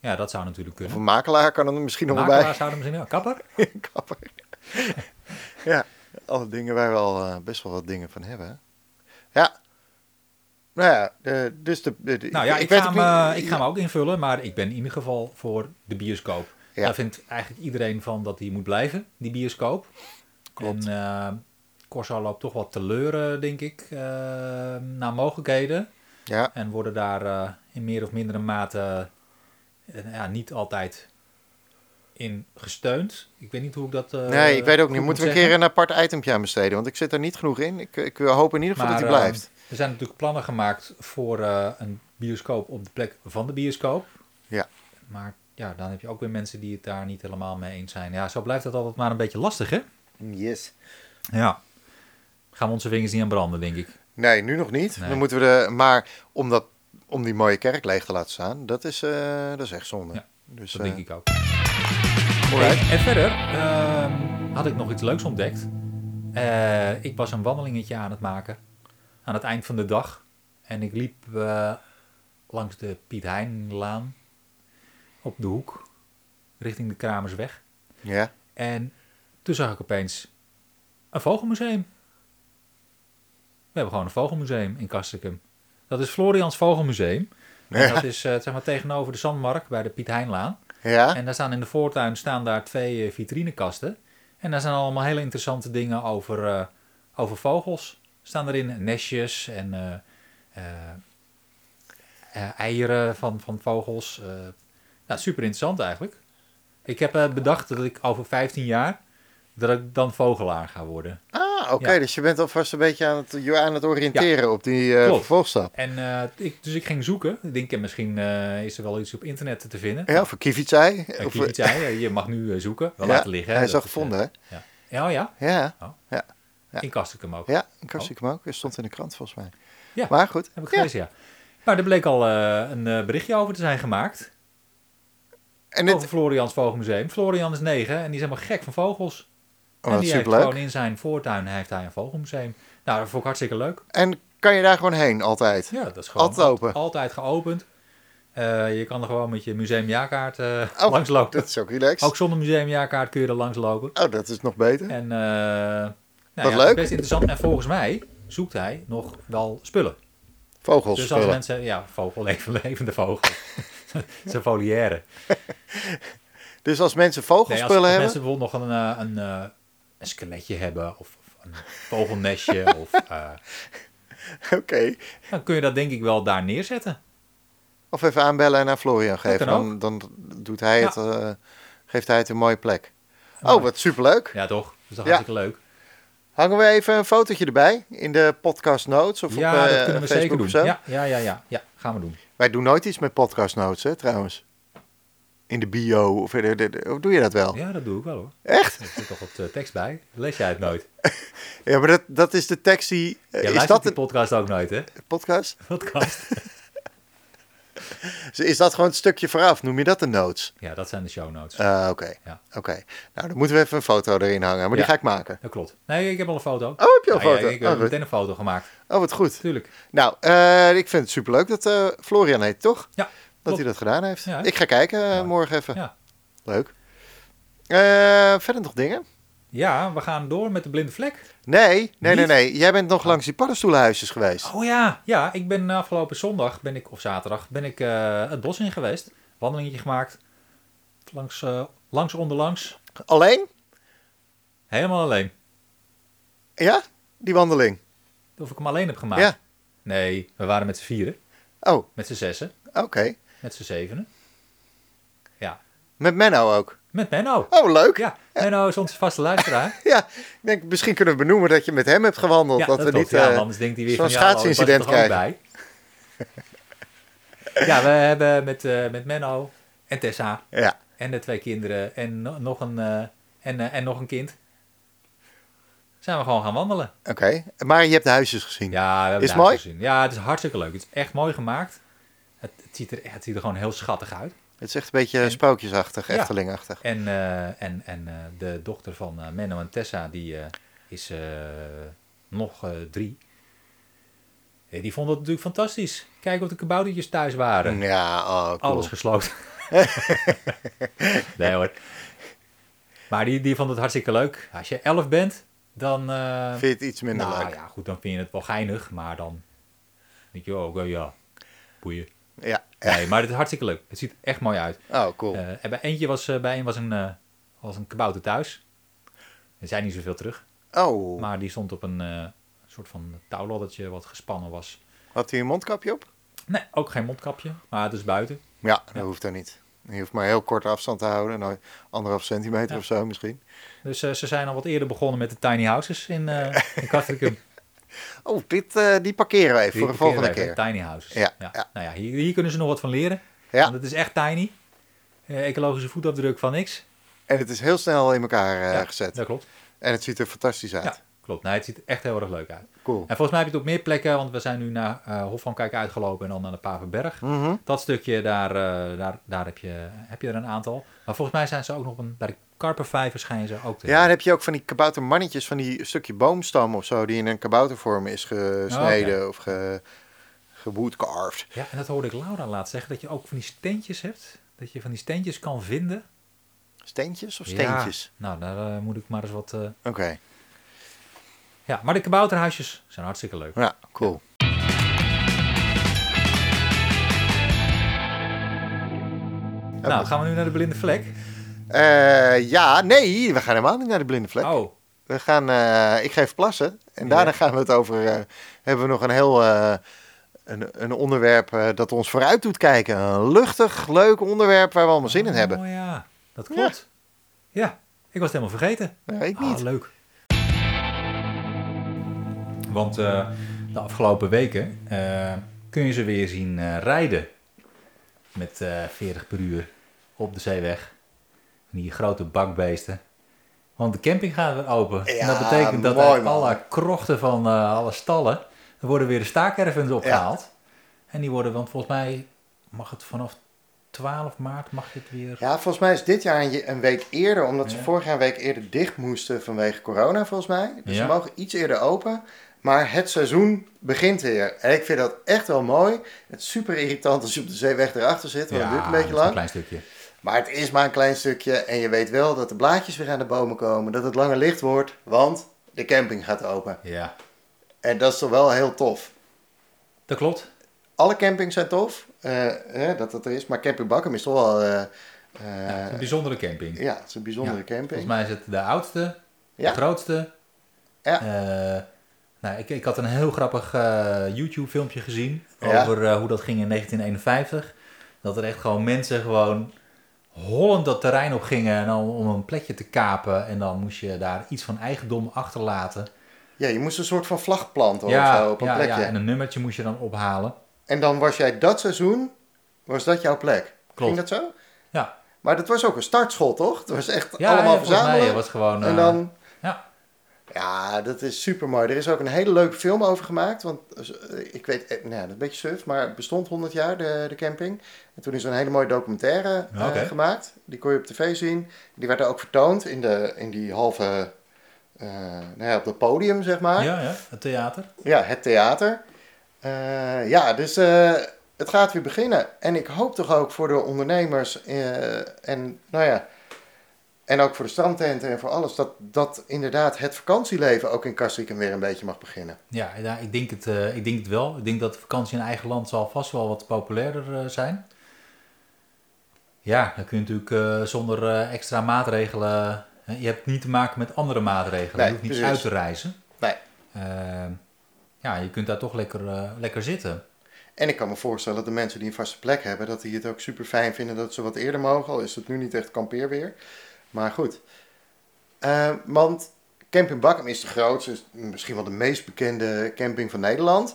[SPEAKER 1] Ja, dat zou natuurlijk
[SPEAKER 2] Of
[SPEAKER 1] kunnen.
[SPEAKER 2] een makelaar kan er misschien nog wel
[SPEAKER 1] Makelaar
[SPEAKER 2] bij.
[SPEAKER 1] zou er misschien wel. Kapper?
[SPEAKER 2] Kapper. ja, alle dingen waar we al eh, best wel wat dingen van hebben. hè? Ja. Nou ja, eh, dus de, de- de-
[SPEAKER 1] Nou ja, ik,
[SPEAKER 2] weet
[SPEAKER 1] ga,
[SPEAKER 2] ook
[SPEAKER 1] hem,
[SPEAKER 2] niet-
[SPEAKER 1] eh, ik ga hem ook invullen, maar ik ben in ieder geval voor de bioscoop.
[SPEAKER 2] Ja.
[SPEAKER 1] Daar vindt eigenlijk iedereen van dat die moet blijven, die bioscoop.
[SPEAKER 2] Klopt.
[SPEAKER 1] En eh, Corsa loopt toch wat teleuren, denk ik, eh, naar mogelijkheden.
[SPEAKER 2] Ja,
[SPEAKER 1] En worden daar eh, in meer of mindere mate eh, ja, niet altijd in gesteund. Ik weet niet hoe ik dat... eh,
[SPEAKER 2] nee, ik weet ook
[SPEAKER 1] goed
[SPEAKER 2] niet.
[SPEAKER 1] moet
[SPEAKER 2] Moeten we een
[SPEAKER 1] zeggen.
[SPEAKER 2] keer een apart itempje aan besteden? Want ik zit er niet genoeg in. Ik, ik hoop in ieder geval dat hij
[SPEAKER 1] Maar,
[SPEAKER 2] blijft.
[SPEAKER 1] eh, er zijn natuurlijk plannen gemaakt voor eh, een bioscoop op de plek van de bioscoop.
[SPEAKER 2] Ja.
[SPEAKER 1] Maar ja, dan heb je ook weer mensen die het daar niet helemaal mee eens zijn. Ja, zo blijft dat altijd maar een beetje lastig, hè?
[SPEAKER 2] Yes.
[SPEAKER 1] Ja. Gaan we onze vingers niet aan branden, denk ik.
[SPEAKER 2] Nee, nu nog niet.
[SPEAKER 1] Nee.
[SPEAKER 2] Dan moeten we de, maar om, dat, om die mooie kerk leeg te laten staan, dat is, eh, dat is echt zonde.
[SPEAKER 1] Ja,
[SPEAKER 2] dus,
[SPEAKER 1] Dat
[SPEAKER 2] eh,
[SPEAKER 1] denk ik ook.
[SPEAKER 2] alright.
[SPEAKER 1] En verder ehm, had ik nog iets leuks ontdekt. Eh, ik was een wandelingetje aan het maken. Aan het eind van de dag. En ik liep eh, langs de Piet Heinlaan. Op de hoek. Richting de Kramersweg.
[SPEAKER 2] Ja.
[SPEAKER 1] En toen zag ik opeens een vogelmuseum. We hebben gewoon een vogelmuseum in Kastrikum. Dat is Florians Vogelmuseum. En dat is eh, zeg maar tegenover de Zandmarkt bij de Piet Heinlaan.
[SPEAKER 2] Ja.
[SPEAKER 1] En daar staan in de voortuin staan daar twee eh, vitrinekasten. En daar zijn allemaal hele interessante dingen over, eh, over vogels. Staan erin nestjes en eh, eh, eh, eieren van, van vogels. eh. nou, super interessant eigenlijk. Ik heb eh, bedacht dat ik over 15 jaar dat ik dan vogelaar ga worden.
[SPEAKER 2] Ah, oké.
[SPEAKER 1] Ja.
[SPEAKER 2] Dus je bent alvast een beetje aan het, je aan het oriënteren op die eh
[SPEAKER 1] Klopt.
[SPEAKER 2] vervolgstap.
[SPEAKER 1] En, eh, ik, dus ik ging zoeken. Ik denk, eh, misschien eh, is er wel iets op internet te vinden.
[SPEAKER 2] Ja, voor Kivitsai.
[SPEAKER 1] Eh,
[SPEAKER 2] Of-
[SPEAKER 1] Kievit zei, eh, je mag nu eh, zoeken. Wel
[SPEAKER 2] Ja,
[SPEAKER 1] laten liggen. hè.
[SPEAKER 2] Hij is al
[SPEAKER 1] Dat
[SPEAKER 2] gevonden, hè?
[SPEAKER 1] eh, oh ja,
[SPEAKER 2] Ja. Ja.
[SPEAKER 1] in Kastrikum ook.
[SPEAKER 2] Ja, ik had hem ook. Hij stond in de krant volgens mij.
[SPEAKER 1] Oh. Ja.
[SPEAKER 2] Maar goed.
[SPEAKER 1] Heb ik
[SPEAKER 2] Ja.
[SPEAKER 1] gelezen, ja. Maar er bleek al eh, een eh, berichtje over te zijn gemaakt.
[SPEAKER 2] En dit,
[SPEAKER 1] Over Florians Vogelmuseum. Florian is negen en die is helemaal gek van vogels. en
[SPEAKER 2] oh,
[SPEAKER 1] die
[SPEAKER 2] wat
[SPEAKER 1] heeft
[SPEAKER 2] superleuk.
[SPEAKER 1] gewoon in zijn voortuin heeft hij een vogelmuseum. Nou, dat vond ik hartstikke leuk.
[SPEAKER 2] En kan je daar gewoon heen altijd?
[SPEAKER 1] Ja, dat is gewoon
[SPEAKER 2] Altijd open.
[SPEAKER 1] altijd geopend. Eh, je kan er gewoon met je museumjaarkaart eh
[SPEAKER 2] Oh,
[SPEAKER 1] langs lopen.
[SPEAKER 2] Dat is ook relaxed.
[SPEAKER 1] Ook zonder museumjaarkaart kun je er langs lopen.
[SPEAKER 2] Oh, dat is nog beter.
[SPEAKER 1] En eh nou,
[SPEAKER 2] Wat
[SPEAKER 1] ja,
[SPEAKER 2] leuk.
[SPEAKER 1] Best interessant. En volgens mij zoekt hij nog wel spullen.
[SPEAKER 2] Vogels
[SPEAKER 1] Dus als
[SPEAKER 2] spullen.
[SPEAKER 1] mensen, ja, vogel, leven- levende vogel. Zijn foliaire.
[SPEAKER 2] Dus als mensen
[SPEAKER 1] Nee,
[SPEAKER 2] vogelspullen
[SPEAKER 1] als, als
[SPEAKER 2] hebben...
[SPEAKER 1] mensen bijvoorbeeld nog een, eh, een, eh, een skeletje hebben of, of een vogelnestje, of, eh,
[SPEAKER 2] Oké.
[SPEAKER 1] dan kun je dat denk ik wel daar neerzetten.
[SPEAKER 2] Of even aanbellen en aan Florian geven.
[SPEAKER 1] kan
[SPEAKER 2] Dan, dan doet hij
[SPEAKER 1] Ja.
[SPEAKER 2] het, eh, geeft hij het een mooie plek.
[SPEAKER 1] Ja.
[SPEAKER 2] Oh, wat superleuk.
[SPEAKER 1] Ja, toch? Dat is toch
[SPEAKER 2] Ja.
[SPEAKER 1] hartstikke leuk.
[SPEAKER 2] Hangen we even een fotootje erbij in de podcast notes of
[SPEAKER 1] ja,
[SPEAKER 2] op eh,
[SPEAKER 1] dat kunnen we
[SPEAKER 2] Facebook
[SPEAKER 1] zeker
[SPEAKER 2] of
[SPEAKER 1] doen.
[SPEAKER 2] zo?
[SPEAKER 1] Ja, ja, ja, ja, ja, gaan we doen.
[SPEAKER 2] Wij doen nooit iets met podcast notes, hè, trouwens. in de bio? Of, de- de- de- of doe je dat wel?
[SPEAKER 1] Ja, dat doe ik wel hoor.
[SPEAKER 2] Oh. Echt?
[SPEAKER 1] Er zit toch wat eh, tekst bij. Lees jij het nooit?
[SPEAKER 2] Ja, maar dat, dat is de tekst die... eh,
[SPEAKER 1] Jij
[SPEAKER 2] is
[SPEAKER 1] luistert
[SPEAKER 2] dat
[SPEAKER 1] die
[SPEAKER 2] een
[SPEAKER 1] podcast ook nooit, hè?
[SPEAKER 2] podcast?
[SPEAKER 1] Podcast.
[SPEAKER 2] Is dat gewoon het stukje vooraf? Noem je dat de notes?
[SPEAKER 1] ja, dat zijn de show notes.
[SPEAKER 2] Eh, Oké,
[SPEAKER 1] Ja.
[SPEAKER 2] oké. Nou, dan moeten we even een foto erin hangen. Maar
[SPEAKER 1] Ja.
[SPEAKER 2] die ga ik maken.
[SPEAKER 1] Dat klopt. Nee, ik heb al een foto.
[SPEAKER 2] Oh, heb je al een
[SPEAKER 1] Ja, ja,
[SPEAKER 2] foto?
[SPEAKER 1] ik heb
[SPEAKER 2] Oh, goed.
[SPEAKER 1] meteen een foto gemaakt.
[SPEAKER 2] Oh, wat goed.
[SPEAKER 1] Tuurlijk.
[SPEAKER 2] Nou, eh, ik vind het superleuk dat eh, Florian heet, toch?
[SPEAKER 1] Ja,
[SPEAKER 2] Dat
[SPEAKER 1] klopt.
[SPEAKER 2] hij dat gedaan heeft.
[SPEAKER 1] Ja, hè?
[SPEAKER 2] ik ga kijken eh,
[SPEAKER 1] Mooi.
[SPEAKER 2] morgen even.
[SPEAKER 1] Ja.
[SPEAKER 2] Leuk. Eh, verder nog dingen?
[SPEAKER 1] ja, we gaan door met de blinde vlek.
[SPEAKER 2] Nee, nee, nee,
[SPEAKER 1] Niet?
[SPEAKER 2] nee. Jij bent nog langs die paddenstoelenhuisjes geweest.
[SPEAKER 1] Oh ja, ja. Ik ben eh, afgelopen zondag, ben ik, of zaterdag, ben ik eh, het bos in geweest. Wandelingetje gemaakt. Langs, eh, langs onderlangs.
[SPEAKER 2] Alleen?
[SPEAKER 1] Helemaal alleen.
[SPEAKER 2] Ja? Die wandeling.
[SPEAKER 1] Of ik hem alleen heb gemaakt.
[SPEAKER 2] Ja.
[SPEAKER 1] Nee, we waren met z'n vieren.
[SPEAKER 2] Oh,
[SPEAKER 1] Met z'n zessen.
[SPEAKER 2] oké.
[SPEAKER 1] Met z'n zevenen. Ja.
[SPEAKER 2] Met Menno ook.
[SPEAKER 1] Met Menno.
[SPEAKER 2] Oh, leuk.
[SPEAKER 1] Ja, Menno is onze vaste luisteraar.
[SPEAKER 2] Ja, ik denk, misschien kunnen we benoemen dat je met hem hebt gewandeld.
[SPEAKER 1] ja,
[SPEAKER 2] dat, we
[SPEAKER 1] klopt.
[SPEAKER 2] niet.
[SPEAKER 1] ja,
[SPEAKER 2] eh,
[SPEAKER 1] anders denkt hij weer
[SPEAKER 2] zo'n
[SPEAKER 1] van ja, hallo, ik was er toch ook
[SPEAKER 2] schaatsincident
[SPEAKER 1] bij. ja, we hebben met, eh, met Menno en Tessa
[SPEAKER 2] ja.
[SPEAKER 1] en de twee kinderen en no- nog een, eh, en, eh, en nog een kind. Zijn we gewoon gaan wandelen.
[SPEAKER 2] Oké. Maar je hebt de huisjes gezien.
[SPEAKER 1] Ja, we hebben
[SPEAKER 2] Is
[SPEAKER 1] daar
[SPEAKER 2] mooi?
[SPEAKER 1] gezien. Ja, het is hartstikke leuk. Het is echt mooi gemaakt. Het, het, ziet, er, het ziet er gewoon heel schattig uit.
[SPEAKER 2] Het is echt een beetje
[SPEAKER 1] En-
[SPEAKER 2] sprookjesachtig,
[SPEAKER 1] Ja.
[SPEAKER 2] Eftelingachtig.
[SPEAKER 1] En, eh, en, en eh, de dochter van eh, Menno en Tessa, die eh, is eh, nog eh, drie. Eh, Die vond het natuurlijk fantastisch. Kijk wat de kaboutertjes thuis waren.
[SPEAKER 2] Ja, oh, cool.
[SPEAKER 1] Alles gesloten. nee hoor. Maar die, die vond het hartstikke leuk. Als je elf bent, dan... eh,
[SPEAKER 2] Vind je het iets minder
[SPEAKER 1] nou
[SPEAKER 2] leuk?
[SPEAKER 1] ja, goed, dan vind je het wel geinig. Maar dan denk je, oh, oké, ja, boeien.
[SPEAKER 2] Ja.
[SPEAKER 1] Nee, maar het is hartstikke leuk. Het ziet er echt mooi uit.
[SPEAKER 2] Oh, cool.
[SPEAKER 1] Eh, en bij eentje was, eh, bij een was een, eh, was een kabouter thuis. Er zijn niet zoveel terug.
[SPEAKER 2] oh,
[SPEAKER 1] Maar die stond op een eh, soort van touwladdertje wat gespannen was.
[SPEAKER 2] had hij een mondkapje op?
[SPEAKER 1] Nee, ook geen mondkapje, maar het is buiten.
[SPEAKER 2] Ja, dat hoeft dan niet. Je hoeft maar heel korte afstand te houden. Nou, anderhalf centimeter
[SPEAKER 1] Ja.
[SPEAKER 2] of zo misschien.
[SPEAKER 1] Dus eh, ze zijn al wat eerder begonnen met de tiny houses in, eh in Castricum.
[SPEAKER 2] Oh, dit, eh, die parkeren we even
[SPEAKER 1] Die
[SPEAKER 2] voor de volgende
[SPEAKER 1] parkeren
[SPEAKER 2] keer.
[SPEAKER 1] wij, hè? Tiny houses.
[SPEAKER 2] Ja, ja.
[SPEAKER 1] Nou ja, hier, hier kunnen ze nog wat van leren.
[SPEAKER 2] Ja,
[SPEAKER 1] Want het is echt tiny. Eh, ecologische voetafdruk van niks.
[SPEAKER 2] en het is heel snel in elkaar eh,
[SPEAKER 1] Ja,
[SPEAKER 2] gezet.
[SPEAKER 1] Dat klopt.
[SPEAKER 2] En het ziet er fantastisch uit.
[SPEAKER 1] Ja, klopt. Nee, het ziet er echt heel erg leuk uit.
[SPEAKER 2] Cool.
[SPEAKER 1] En volgens mij heb je het op meer plekken, want we zijn nu naar eh, Hof van Kijk uitgelopen en dan naar de Pavenberg.
[SPEAKER 2] Mhm.
[SPEAKER 1] Dat stukje, daar, eh, daar, daar heb, je, heb je er een aantal. Maar volgens mij zijn ze ook nog op een, bij de karpervijver schijnen ze ook te
[SPEAKER 2] Ja, dan heb je ook van die kaboutermannetjes, van die stukje boomstam of zo, die in een kaboutervorm is gesneden
[SPEAKER 1] Oh,
[SPEAKER 2] of ge, gewoodcarved.
[SPEAKER 1] Ja, en dat hoorde ik Laura laatst zeggen, dat je ook van die steentjes hebt. Dat je van die steentjes kan vinden.
[SPEAKER 2] Steentjes of steentjes?
[SPEAKER 1] Ja, nou, daar eh, moet ik maar eens wat... eh,
[SPEAKER 2] Oké,
[SPEAKER 1] Ja, maar de kabouterhuisjes zijn hartstikke leuk.
[SPEAKER 2] ja, cool.
[SPEAKER 1] Nou, gaan we nu naar de blinde vlek.
[SPEAKER 2] Eh, ja, nee, we gaan helemaal niet naar de blinde vlek.
[SPEAKER 1] Oh,
[SPEAKER 2] We gaan, eh, ik ga even plassen en daarna gaan we het over, eh, hebben we nog een heel, eh, een, een onderwerp eh, dat ons vooruit doet kijken. Een luchtig, leuk onderwerp waar we allemaal zin in hebben.
[SPEAKER 1] Oh ja, dat klopt. Ja, ik was het helemaal vergeten.
[SPEAKER 2] Nou, ik
[SPEAKER 1] Ah,
[SPEAKER 2] niet.
[SPEAKER 1] leuk. Want eh, de afgelopen weken eh, kun je ze weer zien eh, rijden. Met eh 40 per uur op de zeeweg. Van die grote bakbeesten. Want de camping gaat weer open. en dat
[SPEAKER 2] Ja,
[SPEAKER 1] betekent dat
[SPEAKER 2] mooi,
[SPEAKER 1] uit
[SPEAKER 2] man.
[SPEAKER 1] alle krochten van eh, alle stallen... er worden weer de staakervens opgehaald. En die worden, want volgens mij mag het vanaf 12 maart mag je het weer...
[SPEAKER 2] Ja, volgens mij is dit jaar een, je- een week eerder, omdat ze
[SPEAKER 1] Ja.
[SPEAKER 2] vorig jaar een week eerder dicht moesten vanwege corona, volgens mij. Dus
[SPEAKER 1] Ja.
[SPEAKER 2] ze mogen iets eerder open. Maar het seizoen begint weer. En ik vind dat echt wel mooi. Het is super irritant als je op de zeeweg erachter zit, want het duurt een
[SPEAKER 1] dat
[SPEAKER 2] beetje
[SPEAKER 1] is
[SPEAKER 2] lang.
[SPEAKER 1] een klein stukje.
[SPEAKER 2] Maar het is maar een klein stukje. En je weet wel dat de blaadjes weer aan de bomen komen, dat het langer licht wordt, want de camping gaat open.
[SPEAKER 1] Ja,
[SPEAKER 2] En dat is toch wel heel tof.
[SPEAKER 1] dat klopt.
[SPEAKER 2] Alle campings zijn tof, eh, hè, dat dat er is. Maar Camping Bakkum is toch wel... eh, eh,
[SPEAKER 1] Het is een bijzondere camping.
[SPEAKER 2] ja, het is een bijzondere
[SPEAKER 1] Ja,
[SPEAKER 2] camping.
[SPEAKER 1] Volgens mij is het de oudste,
[SPEAKER 2] Ja.
[SPEAKER 1] de grootste.
[SPEAKER 2] Ja.
[SPEAKER 1] Eh, nou, ik, ik had een heel grappig eh, YouTube-filmpje gezien
[SPEAKER 2] Ja.
[SPEAKER 1] over eh, hoe dat ging in 1951. Dat er echt gewoon mensen gewoon hollend dat terrein op gingen en om, om een plekje te kapen. En dan moest je daar iets van eigendom achterlaten.
[SPEAKER 2] Ja, je moest een soort van vlag planten of zo op een
[SPEAKER 1] ja,
[SPEAKER 2] plekje.
[SPEAKER 1] ja, en
[SPEAKER 2] en,
[SPEAKER 1] een nummertje moest je dan ophalen.
[SPEAKER 2] dan was jij dat seizoen, was dat jouw plek.
[SPEAKER 1] Klopt.
[SPEAKER 2] Ging dat zo?
[SPEAKER 1] Ja,
[SPEAKER 2] Maar dat was ook een startschot, toch? Het was echt
[SPEAKER 1] Ja,
[SPEAKER 2] allemaal
[SPEAKER 1] ja, volgens mij,
[SPEAKER 2] verzamelen.
[SPEAKER 1] ja, was gewoon,
[SPEAKER 2] en
[SPEAKER 1] eh,
[SPEAKER 2] dan...
[SPEAKER 1] ja.
[SPEAKER 2] Ja, dat is super mooi. Er is ook een hele leuke film over gemaakt. Want eh, ik weet, eh, nou, ja, dat is een beetje suf, maar het bestond 100 jaar, de, de camping. En toen is er een hele mooie documentaire eh,
[SPEAKER 1] Ja, oké.
[SPEAKER 2] gemaakt. Die kon je op tv zien. Die werd er ook vertoond in, de, in die halve, eh, nou ja, op dat podium, zeg maar.
[SPEAKER 1] Ja, ja, het theater.
[SPEAKER 2] Ja, het theater. Eh, ja, dus eh, het gaat weer beginnen. En ik hoop toch ook voor de ondernemers eh, en, nou ja, en ook voor de strandtenten en voor alles, dat, dat inderdaad het vakantieleven ook in Kastrikum weer een beetje mag beginnen.
[SPEAKER 1] Ja, ja ik, denk het, eh, ik denk het wel. Ik denk dat vakantie in eigen land zal vast wel wat populairder eh, zijn. Ja, dan kun je natuurlijk eh, zonder eh, extra maatregelen... hè, je hebt niet te maken met andere maatregelen.
[SPEAKER 2] Nee,
[SPEAKER 1] je hoeft niet
[SPEAKER 2] precies.
[SPEAKER 1] uit te reizen.
[SPEAKER 2] Nee.
[SPEAKER 1] Eh, ja, je kunt daar toch lekker, eh, lekker zitten.
[SPEAKER 2] En ik kan me voorstellen dat de mensen die een vaste plek hebben, dat die het ook super fijn vinden dat ze wat eerder mogen. Al is het nu niet echt kampeerweer. Maar goed. Eh, want Camping Bakkum is de grootste, is misschien wel de meest bekende camping van Nederland.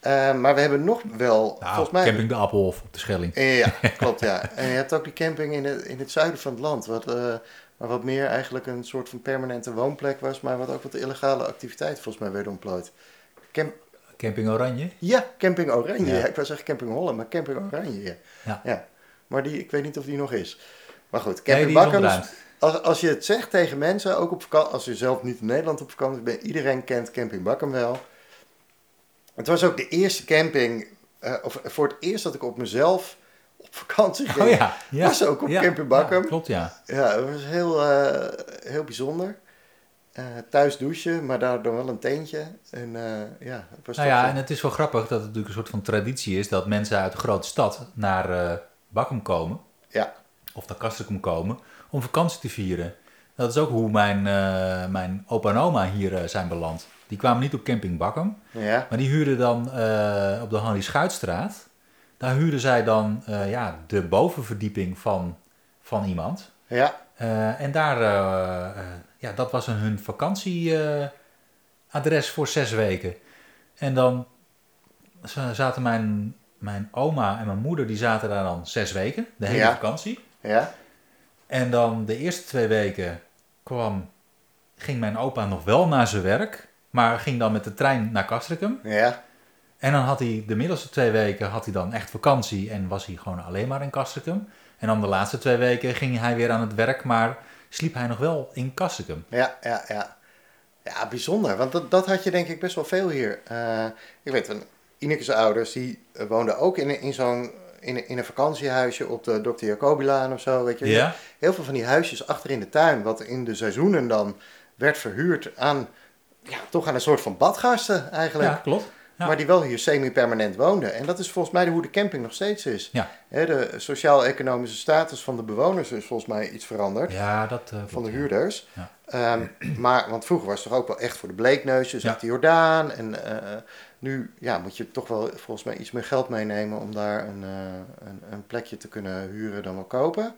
[SPEAKER 2] Eh, maar we hebben nog wel,
[SPEAKER 1] Nou,
[SPEAKER 2] volgens mij...
[SPEAKER 1] camping de Appelhof op de Schelling.
[SPEAKER 2] Eh, Ja, klopt ja. En je hebt ook die camping in het, in het zuiden van het land. Wat, eh, maar wat meer eigenlijk een soort van permanente woonplek was. Maar wat ook wat illegale activiteit volgens mij werd ontplooit. Camp,
[SPEAKER 1] Camping Oranje.
[SPEAKER 2] ja, Camping Oranje.
[SPEAKER 1] Ja.
[SPEAKER 2] Ja, ik was zeggen Camping Holland, maar Camping Oranje. Ja.
[SPEAKER 1] Ja.
[SPEAKER 2] Maar die, ik weet niet of die nog is. Maar goed,
[SPEAKER 1] Nee,
[SPEAKER 2] Camping
[SPEAKER 1] die is
[SPEAKER 2] Bakkum.
[SPEAKER 1] opgeruimd.
[SPEAKER 2] Als, als je het zegt tegen mensen, ook op vakantie, als je zelf niet in Nederland op vakantie bent, iedereen kent Camping Bakkum wel. Het was ook de eerste camping, eh, of voor het eerst dat ik op mezelf op vakantie ging.
[SPEAKER 1] Oh ja. ja.
[SPEAKER 2] Was ook op
[SPEAKER 1] ja,
[SPEAKER 2] Camping Bakkum.
[SPEAKER 1] ja, klopt, ja.
[SPEAKER 2] Ja, dat was heel, eh, heel bijzonder. Eh, thuis douchen, maar daar dan wel een teentje. En eh, ja, het was
[SPEAKER 1] Nou
[SPEAKER 2] toch,
[SPEAKER 1] ja,
[SPEAKER 2] eh,
[SPEAKER 1] en het is wel grappig dat het natuurlijk een soort van traditie is... dat mensen uit de grote stad naar eh Bakkum komen...
[SPEAKER 2] ja.
[SPEAKER 1] of naar Kastrikum komen om vakantie te vieren. Dat is ook hoe mijn, eh, mijn opa en oma hier eh, zijn beland. Die kwamen niet op camping Bakkum,
[SPEAKER 2] Ja,
[SPEAKER 1] maar die huurden dan eh, op de Henri Schuitstraat. Daar huurden zij dan eh, ja, de bovenverdieping van, van iemand.
[SPEAKER 2] ja,
[SPEAKER 1] Eh, en daar, eh, eh, ja, dat was een- hun vakantieadres eh, voor zes weken. En dan za- zaten mijn, mijn oma en mijn moeder, die zaten daar dan zes weken, de hele
[SPEAKER 2] Ja.
[SPEAKER 1] vakantie.
[SPEAKER 2] ja,
[SPEAKER 1] En dan de eerste twee weken kwam, ging mijn opa nog wel naar zijn werk, maar ging dan met de trein naar Castricum.
[SPEAKER 2] ja,
[SPEAKER 1] En dan had hij de middelste twee weken had hij dan echt vakantie en was hij gewoon alleen maar in Castricum. En dan de laatste twee weken ging hij weer aan het werk, maar sliep hij nog wel in Castricum.
[SPEAKER 2] ja, ja, ja. Ja, bijzonder. Want dat, dat had je denk ik best wel veel hier. Eh, ik weet, van Ineke's ouders, die eh, woonden ook in, een- in zo'n... In, een- in een vakantiehuisje op de Dr. Jacobilaan of zo, weet je. wel.
[SPEAKER 1] Ja,
[SPEAKER 2] Heel veel van die huisjes achter in de tuin, wat in de seizoenen dan werd verhuurd aan... Ja, toch aan een soort van badgasten eigenlijk.
[SPEAKER 1] ja klopt. Ja.
[SPEAKER 2] Maar die wel hier semi-permanent woonden. En dat is volgens mij hoe de camping nog steeds is.
[SPEAKER 1] Ja.
[SPEAKER 2] Hè, de sociaal-economische status van de bewoners is volgens mij iets veranderd.
[SPEAKER 1] Ja, dat eh,
[SPEAKER 2] van
[SPEAKER 1] klopt,
[SPEAKER 2] de
[SPEAKER 1] ja.
[SPEAKER 2] huurders.
[SPEAKER 1] Ja.
[SPEAKER 2] Ehm, maar, want vroeger was het toch ook wel echt voor de bleekneusjes,
[SPEAKER 1] Ja.
[SPEAKER 2] uit de Jordaan. En eh, nu ja, moet je toch wel volgens mij iets meer geld meenemen om daar een, eh, een, een plekje te kunnen huren dan wel kopen.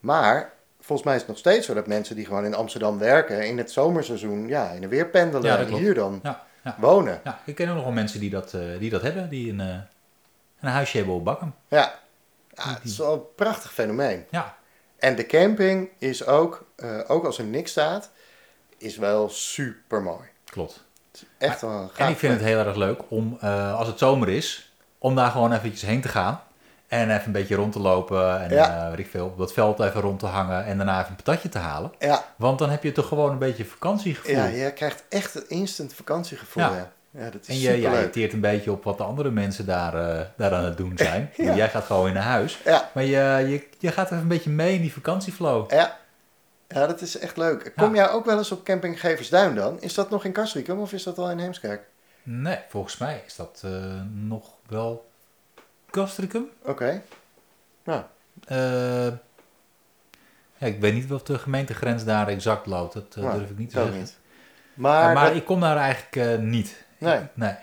[SPEAKER 2] Maar volgens mij is het nog steeds zo dat mensen die gewoon in Amsterdam werken, in het zomerseizoen, ja, in de weer pendelen
[SPEAKER 1] Ja, dat
[SPEAKER 2] en
[SPEAKER 1] klopt.
[SPEAKER 2] hier dan
[SPEAKER 1] Ja, ja.
[SPEAKER 2] wonen.
[SPEAKER 1] ja, ik ken ook nog wel mensen die dat, eh, die dat hebben, die een, eh, een huisje hebben op Bakkum.
[SPEAKER 2] Ja.
[SPEAKER 1] Mhm.
[SPEAKER 2] ja, het is wel een prachtig fenomeen.
[SPEAKER 1] Ja,
[SPEAKER 2] En de camping is ook, eh, ook als er niks staat, is wel super mooi.
[SPEAKER 1] klopt.
[SPEAKER 2] Echt wel een gaaf
[SPEAKER 1] En ik vind het heel erg leuk om, eh, als het zomer is, om daar gewoon eventjes heen te gaan. En even een beetje rond te lopen en
[SPEAKER 2] Ja.
[SPEAKER 1] eh, weet ik veel, op dat veld even rond te hangen en daarna even een patatje te halen.
[SPEAKER 2] Ja,
[SPEAKER 1] Want dan heb je toch gewoon een beetje vakantiegevoel.
[SPEAKER 2] ja, je krijgt echt een instant vakantiegevoel.
[SPEAKER 1] Ja.
[SPEAKER 2] Ja, ja. dat
[SPEAKER 1] En
[SPEAKER 2] is
[SPEAKER 1] je, je
[SPEAKER 2] superleuk.
[SPEAKER 1] irriteert een beetje op wat de andere mensen daar, eh, daar aan het doen zijn.
[SPEAKER 2] Ja.
[SPEAKER 1] Jij gaat gewoon weer naar huis.
[SPEAKER 2] Ja.
[SPEAKER 1] Maar je, je, je gaat even een beetje mee in die vakantieflow.
[SPEAKER 2] Ja. ja, dat is echt leuk. Kom jij ook wel eens op camping Geversduin dan? Is dat nog in Kastrikum of is dat al in Heemskerk?
[SPEAKER 1] Nee, volgens mij is dat eh, nog wel Castricum.
[SPEAKER 2] Oké. Nou,
[SPEAKER 1] Eh, ja, ik weet niet of de gemeentegrens daar exact loopt. Dat eh,
[SPEAKER 2] nou,
[SPEAKER 1] durf ik niet te
[SPEAKER 2] dat
[SPEAKER 1] zeggen.
[SPEAKER 2] niet.
[SPEAKER 1] Eh,
[SPEAKER 2] Maar,
[SPEAKER 1] maar
[SPEAKER 2] dat,
[SPEAKER 1] ik kom daar eigenlijk eh, niet.
[SPEAKER 2] Nee.
[SPEAKER 1] nee.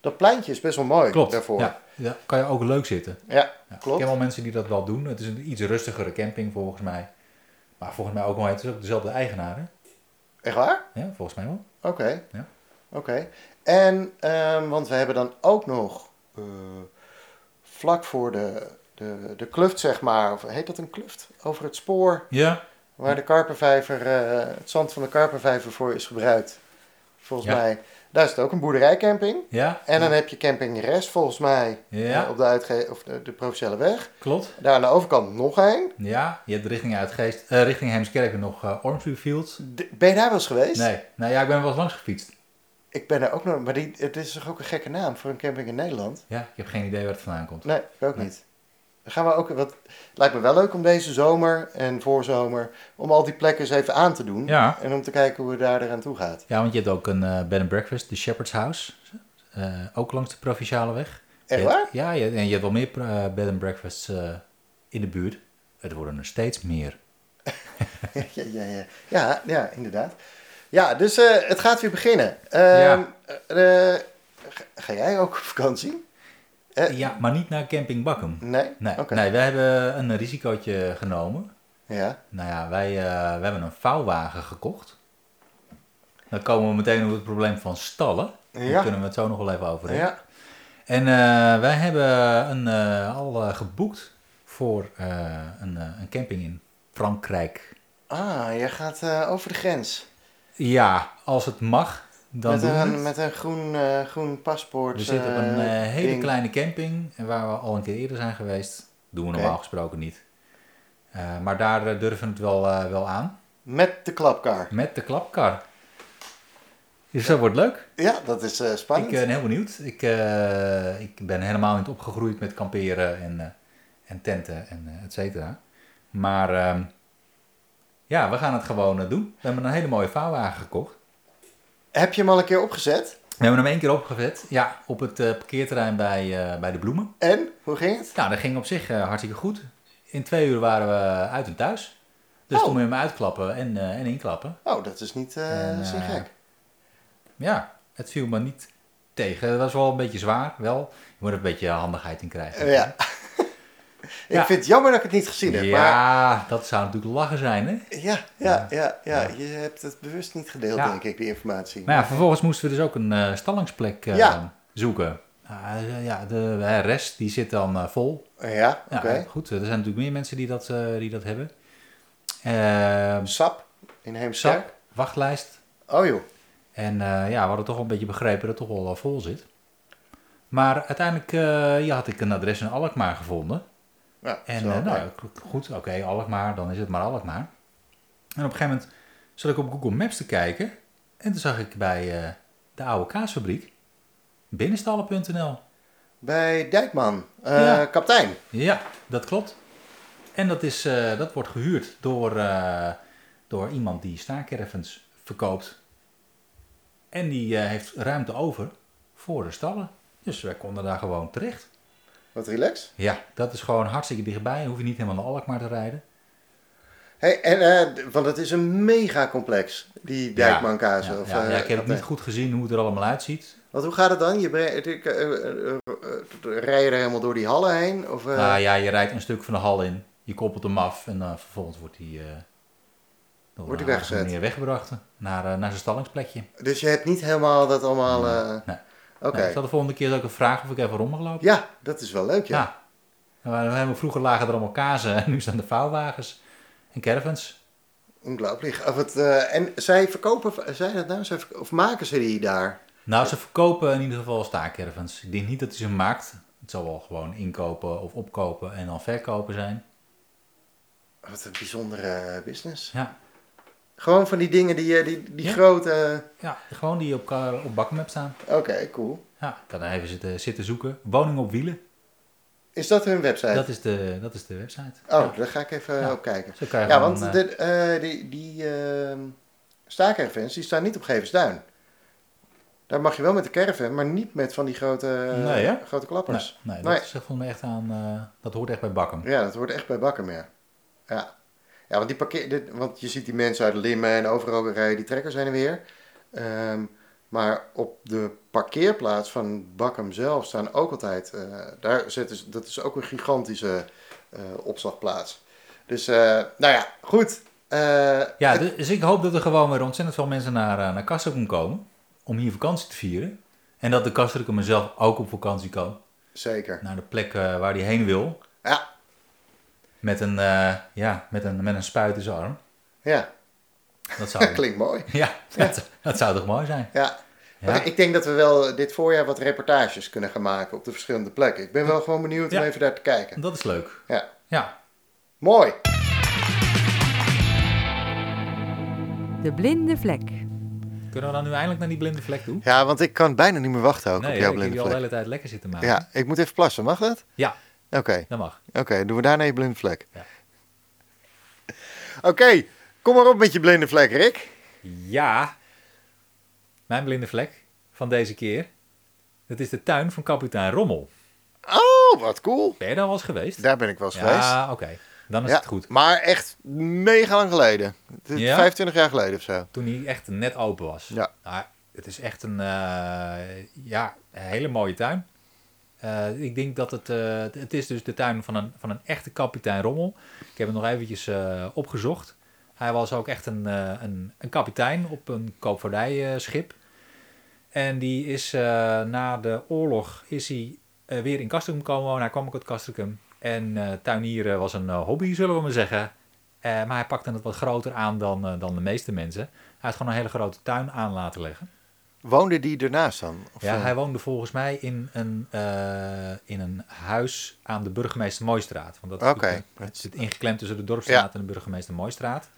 [SPEAKER 2] dat pleintje is best wel mooi
[SPEAKER 1] Klopt.
[SPEAKER 2] daarvoor.
[SPEAKER 1] Ja, ja, kan je ook leuk zitten.
[SPEAKER 2] Ja,
[SPEAKER 1] Ja, Ik
[SPEAKER 2] klopt.
[SPEAKER 1] ken wel mensen die dat wel doen. Het is een iets rustigere camping volgens mij. Maar volgens mij ook wel, het is ook dezelfde eigenaar. Hè?
[SPEAKER 2] Echt waar?
[SPEAKER 1] Ja, volgens mij wel.
[SPEAKER 2] Oké.
[SPEAKER 1] Ja.
[SPEAKER 2] Oké. En, ehm, want we hebben dan ook nog eh, vlak voor de de, de kluft, zeg maar. Of heet dat een kluft? Over het spoor
[SPEAKER 1] Ja,
[SPEAKER 2] waar de karpervijver, eh, het zand van de karpervijver voor is gebruikt. Volgens
[SPEAKER 1] Ja.
[SPEAKER 2] mij. Daar is het ook een boerderijcamping.
[SPEAKER 1] ja,
[SPEAKER 2] En dan heb je camping Rest, volgens mij,
[SPEAKER 1] Ja.
[SPEAKER 2] eh, op de, uitge- of de, de provinciale weg.
[SPEAKER 1] klopt.
[SPEAKER 2] Daar aan de overkant nog een.
[SPEAKER 1] Ja, je hebt richting, uit Geest, eh, richting Heemskerken nog eh Ormsby Fields.
[SPEAKER 2] D- ben je daar wel eens geweest?
[SPEAKER 1] Nee, nou ja, ik ben wel eens langs gefietst.
[SPEAKER 2] Ik ben daar ook nog, maar die, het is toch ook een gekke naam voor een camping in Nederland?
[SPEAKER 1] Ja, ik heb geen idee waar het vandaan komt.
[SPEAKER 2] Nee, ik ook
[SPEAKER 1] Nee.
[SPEAKER 2] niet. Dan gaan we ook, wat, het lijkt me wel leuk om deze zomer en voorzomer, om al die plekken eens even aan te doen.
[SPEAKER 1] Ja.
[SPEAKER 2] En om te kijken hoe het daar eraan toe gaat.
[SPEAKER 1] Ja, want je hebt ook een eh, bed and breakfast, de Shepherd's House. Eh, ook langs de provinciale weg.
[SPEAKER 2] Echt
[SPEAKER 1] Je hebt-
[SPEAKER 2] waar?
[SPEAKER 1] Ja, je, en je hebt wel meer eh, bed and breakfasts eh, in de buurt. Het worden er steeds meer.
[SPEAKER 2] ja, ja, ja. Ja, ja, inderdaad. Ja, dus eh, het gaat weer beginnen. Ehm,
[SPEAKER 1] Ja.
[SPEAKER 2] eh, eh, ga- ga jij ook op vakantie? Eh,
[SPEAKER 1] Ja, maar niet naar Camping Bakkum.
[SPEAKER 2] Nee?
[SPEAKER 1] Nee,
[SPEAKER 2] Oké.
[SPEAKER 1] nee, wij hebben een risicootje genomen.
[SPEAKER 2] Ja.
[SPEAKER 1] Nou ja, wij, eh, we hebben een vouwwagen gekocht. Dan komen we meteen op het probleem van stallen. Daar
[SPEAKER 2] Ja.
[SPEAKER 1] kunnen we het zo nog wel even over hebben.
[SPEAKER 2] Ja.
[SPEAKER 1] En eh, wij hebben een, eh, al eh, geboekt voor eh, een, eh, een camping in Frankrijk.
[SPEAKER 2] Ah, jij gaat eh, over de grens.
[SPEAKER 1] Ja, als het mag, dan
[SPEAKER 2] met,
[SPEAKER 1] doen we
[SPEAKER 2] een,
[SPEAKER 1] het.
[SPEAKER 2] met een groen, eh, groen paspoort.
[SPEAKER 1] We zitten op een
[SPEAKER 2] eh,
[SPEAKER 1] eh, hele
[SPEAKER 2] ding.
[SPEAKER 1] kleine camping en waar we al een keer eerder zijn geweest. Doen we
[SPEAKER 2] Oké.
[SPEAKER 1] normaal gesproken niet. Eh, maar daar eh, durven we het wel, eh, wel aan.
[SPEAKER 2] Met de klapkar.
[SPEAKER 1] Met de klapkar. Dus dat wordt leuk.
[SPEAKER 2] Ja, dat is eh,
[SPEAKER 1] Ik
[SPEAKER 2] spannend.
[SPEAKER 1] ben heel benieuwd. Ik, eh, ik ben helemaal niet opgegroeid met kamperen en, eh, en tenten en eh, et cetera. Maar ehm, ja, we gaan het gewoon eh, doen. We hebben een hele mooie vouwwagen gekocht.
[SPEAKER 2] Heb je hem al een keer opgezet?
[SPEAKER 1] We hebben hem één keer opgevet. Ja, op het eh, parkeerterrein bij, eh, bij de bloemen.
[SPEAKER 2] En? Hoe ging het?
[SPEAKER 1] Nou, dat ging op zich eh, hartstikke goed. In twee uur waren we uit en thuis. Dus
[SPEAKER 2] Oh.
[SPEAKER 1] toen moet je hem uitklappen en, eh, en inklappen.
[SPEAKER 2] Oh, dat is niet eh
[SPEAKER 1] En,
[SPEAKER 2] zo
[SPEAKER 1] eh,
[SPEAKER 2] gek.
[SPEAKER 1] Ja, het viel me niet tegen. Dat was wel een beetje zwaar, wel. Je moet er een beetje handigheid in krijgen.
[SPEAKER 2] Eh, ja. ik
[SPEAKER 1] ja.
[SPEAKER 2] vind het jammer dat ik het niet gezien heb. Maar
[SPEAKER 1] Ja, dat zou natuurlijk lachen zijn, hè?
[SPEAKER 2] ja, ja, ja, ja, je hebt het bewust niet gedeeld,
[SPEAKER 1] Ja.
[SPEAKER 2] denk ik, die informatie.
[SPEAKER 1] Maar ja, vervolgens moesten we dus ook een eh, stallingsplek eh,
[SPEAKER 2] Ja.
[SPEAKER 1] zoeken. Ah, ja, de eh, rest die zit dan eh, vol.
[SPEAKER 2] Eh, ja, oké.
[SPEAKER 1] Ja, Goed, er zijn natuurlijk meer mensen die dat, eh, die dat hebben. Eh
[SPEAKER 2] Sap in Heemskerk.
[SPEAKER 1] zak, wachtlijst.
[SPEAKER 2] Oh joh.
[SPEAKER 1] En eh, ja, we hadden toch wel een beetje begrepen dat het toch wel eh, vol zit. Maar uiteindelijk eh, ja, had ik een adres in Alkmaar gevonden.
[SPEAKER 2] Ja,
[SPEAKER 1] En
[SPEAKER 2] zo,
[SPEAKER 1] eh,
[SPEAKER 2] oké.
[SPEAKER 1] nou, k- goed, oké, Alkmaar, dan is het maar Alkmaar. En op een gegeven moment zat ik op Google Maps te kijken. En toen zag ik bij eh, de oude kaasfabriek binnenstallen.nl.
[SPEAKER 2] Bij Dijkman, eh,
[SPEAKER 1] Ja.
[SPEAKER 2] kaptein.
[SPEAKER 1] Ja, dat klopt. En dat, is, eh, dat wordt gehuurd door, eh, door iemand die staakervens verkoopt. En die eh, heeft ruimte over voor de stallen. Dus wij konden daar gewoon terecht.
[SPEAKER 2] Wat relax.
[SPEAKER 1] Ja, dat is gewoon hartstikke dichtbij. Hoef je niet helemaal naar Alkmaar te rijden.
[SPEAKER 2] Hey, en, eh, d- want het is een mega complex, die Dijkman kaas.
[SPEAKER 1] Ja,
[SPEAKER 2] of,
[SPEAKER 1] ja, ja, ik
[SPEAKER 2] eh,
[SPEAKER 1] heb het
[SPEAKER 2] kaptein.
[SPEAKER 1] niet goed gezien hoe het er allemaal uitziet.
[SPEAKER 2] Want hoe gaat het dan? Je brengt- eh, eh, eh, eh, eh, rij je er helemaal door die hallen heen? Of, eh,
[SPEAKER 1] Nou ja, je rijdt een stuk van de hal in, je koppelt hem af en eh, vervolgens wordt hij eh door
[SPEAKER 2] Wordt
[SPEAKER 1] een
[SPEAKER 2] hij
[SPEAKER 1] aardige
[SPEAKER 2] weggezet?
[SPEAKER 1] manier weggebracht naar, eh, naar zijn stallingsplekje.
[SPEAKER 2] Dus je hebt niet helemaal dat allemaal... eh,
[SPEAKER 1] nee.
[SPEAKER 2] Oké.
[SPEAKER 1] Nou, ik zal de volgende keer ook een vraag of ik even rondgelopen.
[SPEAKER 2] Ja, dat is wel leuk, ja.
[SPEAKER 1] Ja. En we- we hebben- Vroeger lagen er allemaal kazen en nu staan de vouwwagens en caravans.
[SPEAKER 2] Ongelooflijk. Of het, eh, en zij verkopen, zij dat nou? Zij verk- of maken ze die daar?
[SPEAKER 1] Nou, ze verkopen in ieder geval staakcaravans. Ik denk niet dat hij ze maakt. Het zal wel gewoon inkopen of opkopen en dan verkopen zijn.
[SPEAKER 2] Wat een bijzondere business.
[SPEAKER 1] Ja,
[SPEAKER 2] Gewoon van die dingen die, eh, die, die
[SPEAKER 1] Ja.
[SPEAKER 2] grote...
[SPEAKER 1] ja gewoon die op, ka- op bakken hebben staan.
[SPEAKER 2] Oké, cool.
[SPEAKER 1] Ja, ik kan er even zitten, zitten zoeken. Woning op wielen.
[SPEAKER 2] Is dat hun website?
[SPEAKER 1] Dat is de, dat is de website.
[SPEAKER 2] Oh, daar ga ik even
[SPEAKER 1] Ja.
[SPEAKER 2] op kijken.
[SPEAKER 1] Zo kan je
[SPEAKER 2] Ja,
[SPEAKER 1] gewoon,
[SPEAKER 2] want
[SPEAKER 1] eh,
[SPEAKER 2] dit, eh, die, die ehm, staakervans, die staan niet op Gevensduin. Daar mag je wel met de caravan, maar niet met van die grote, eh,
[SPEAKER 1] Nee, hè?
[SPEAKER 2] grote
[SPEAKER 1] nee,
[SPEAKER 2] klappers.
[SPEAKER 1] Nou, nee,
[SPEAKER 2] Nee.
[SPEAKER 1] dat is volgens mij echt aan... eh, dat hoort echt bij Bakken.
[SPEAKER 2] Ja, dat hoort echt bij bakken meer. Ja, ja want, die parkeer, dit, want je ziet die mensen uit Limmen en overal rijden die trekkers zijn er weer. Ehm, maar op de parkeerplaats van Bakkum zelf staan ook altijd... eh, daar zetten ze, dat is ook een gigantische eh, opslagplaats. Dus, eh, nou ja, goed. Eh,
[SPEAKER 1] Ja, du- dus ik hoop dat er gewoon weer ontzettend veel mensen naar, eh, naar Kastrikum komen. Om hier vakantie te vieren. En dat de Kastrikum mezelf ook op vakantie kan.
[SPEAKER 2] Zeker.
[SPEAKER 1] Naar de plek eh, waar hij heen wil.
[SPEAKER 2] Ja,
[SPEAKER 1] Met een, eh, ja, met een, met een spuit in zijn arm.
[SPEAKER 2] ja.
[SPEAKER 1] Dat zou,
[SPEAKER 2] dat klinkt mooi.
[SPEAKER 1] Oh, ja, dat, dat zou toch mooi zijn?
[SPEAKER 2] Ja.
[SPEAKER 1] Ja.
[SPEAKER 2] Maar ik denk dat we wel dit voorjaar wat reportages kunnen gaan maken op de verschillende plekken. Ik ben wel gewoon benieuwd om
[SPEAKER 1] Ja.
[SPEAKER 2] even daar te kijken.
[SPEAKER 1] Dat is leuk.
[SPEAKER 2] Ja.
[SPEAKER 1] Ja,
[SPEAKER 2] Mooi.
[SPEAKER 3] De blinde vlek.
[SPEAKER 1] kunnen we dan nu eindelijk naar die blinde vlek toe?
[SPEAKER 2] Ja, want ik kan bijna niet meer wachten ook op
[SPEAKER 1] nee,
[SPEAKER 2] jouw
[SPEAKER 1] ik heb
[SPEAKER 2] blinde
[SPEAKER 1] die al de
[SPEAKER 2] vlek.
[SPEAKER 1] hele tijd lekker zitten maken.
[SPEAKER 2] Ja, ik moet even plassen, mag dat?
[SPEAKER 1] Ja,
[SPEAKER 2] Oké,
[SPEAKER 1] dat mag.
[SPEAKER 2] oké, doen we daarna je blinde vlek.
[SPEAKER 1] Ja.
[SPEAKER 2] Oké, kom maar op met je blinde vlek, Rick.
[SPEAKER 1] Ja, mijn blinde vlek van deze keer. Dat is de tuin van kapitein Rommel.
[SPEAKER 2] Oh, wat cool.
[SPEAKER 1] Ben je daar wel eens geweest?
[SPEAKER 2] Daar ben ik wel eens geweest.
[SPEAKER 1] ja, oké. Dan is
[SPEAKER 2] Ja,
[SPEAKER 1] het goed.
[SPEAKER 2] Maar echt mega lang geleden. Het is
[SPEAKER 1] Ja?
[SPEAKER 2] 25 jaar geleden of zo.
[SPEAKER 1] Toen hij echt net open was.
[SPEAKER 2] Ja.
[SPEAKER 1] Nou, het is echt een, eh, ja, een hele mooie tuin. Eh, ik denk dat het, eh, het is dus de tuin van een, van een echte kapitein Rommel. Ik heb het nog eventjes eh, opgezocht. Hij was ook echt een, eh, een, een kapitein op een koopvaardijschip. En die is eh, na de oorlog is hij, eh, weer in Castricum komen wonen. Hij kwam ook uit Castricum. En eh, tuinieren was een eh, hobby, zullen we maar zeggen. Eh, maar hij pakte het wat groter aan dan, eh, dan de meeste mensen. Hij had gewoon een hele grote tuin aan laten leggen.
[SPEAKER 2] Woonde die ernaast dan? Of,
[SPEAKER 1] Ja,
[SPEAKER 2] eh,
[SPEAKER 1] hij woonde volgens mij in een, eh, in een huis aan de burgemeester Mooistraat. Want dat is
[SPEAKER 2] Oké.
[SPEAKER 1] natuurlijk- eh, het zit ingeklemd tussen de dorpstraat en de burgemeester Mooistraat.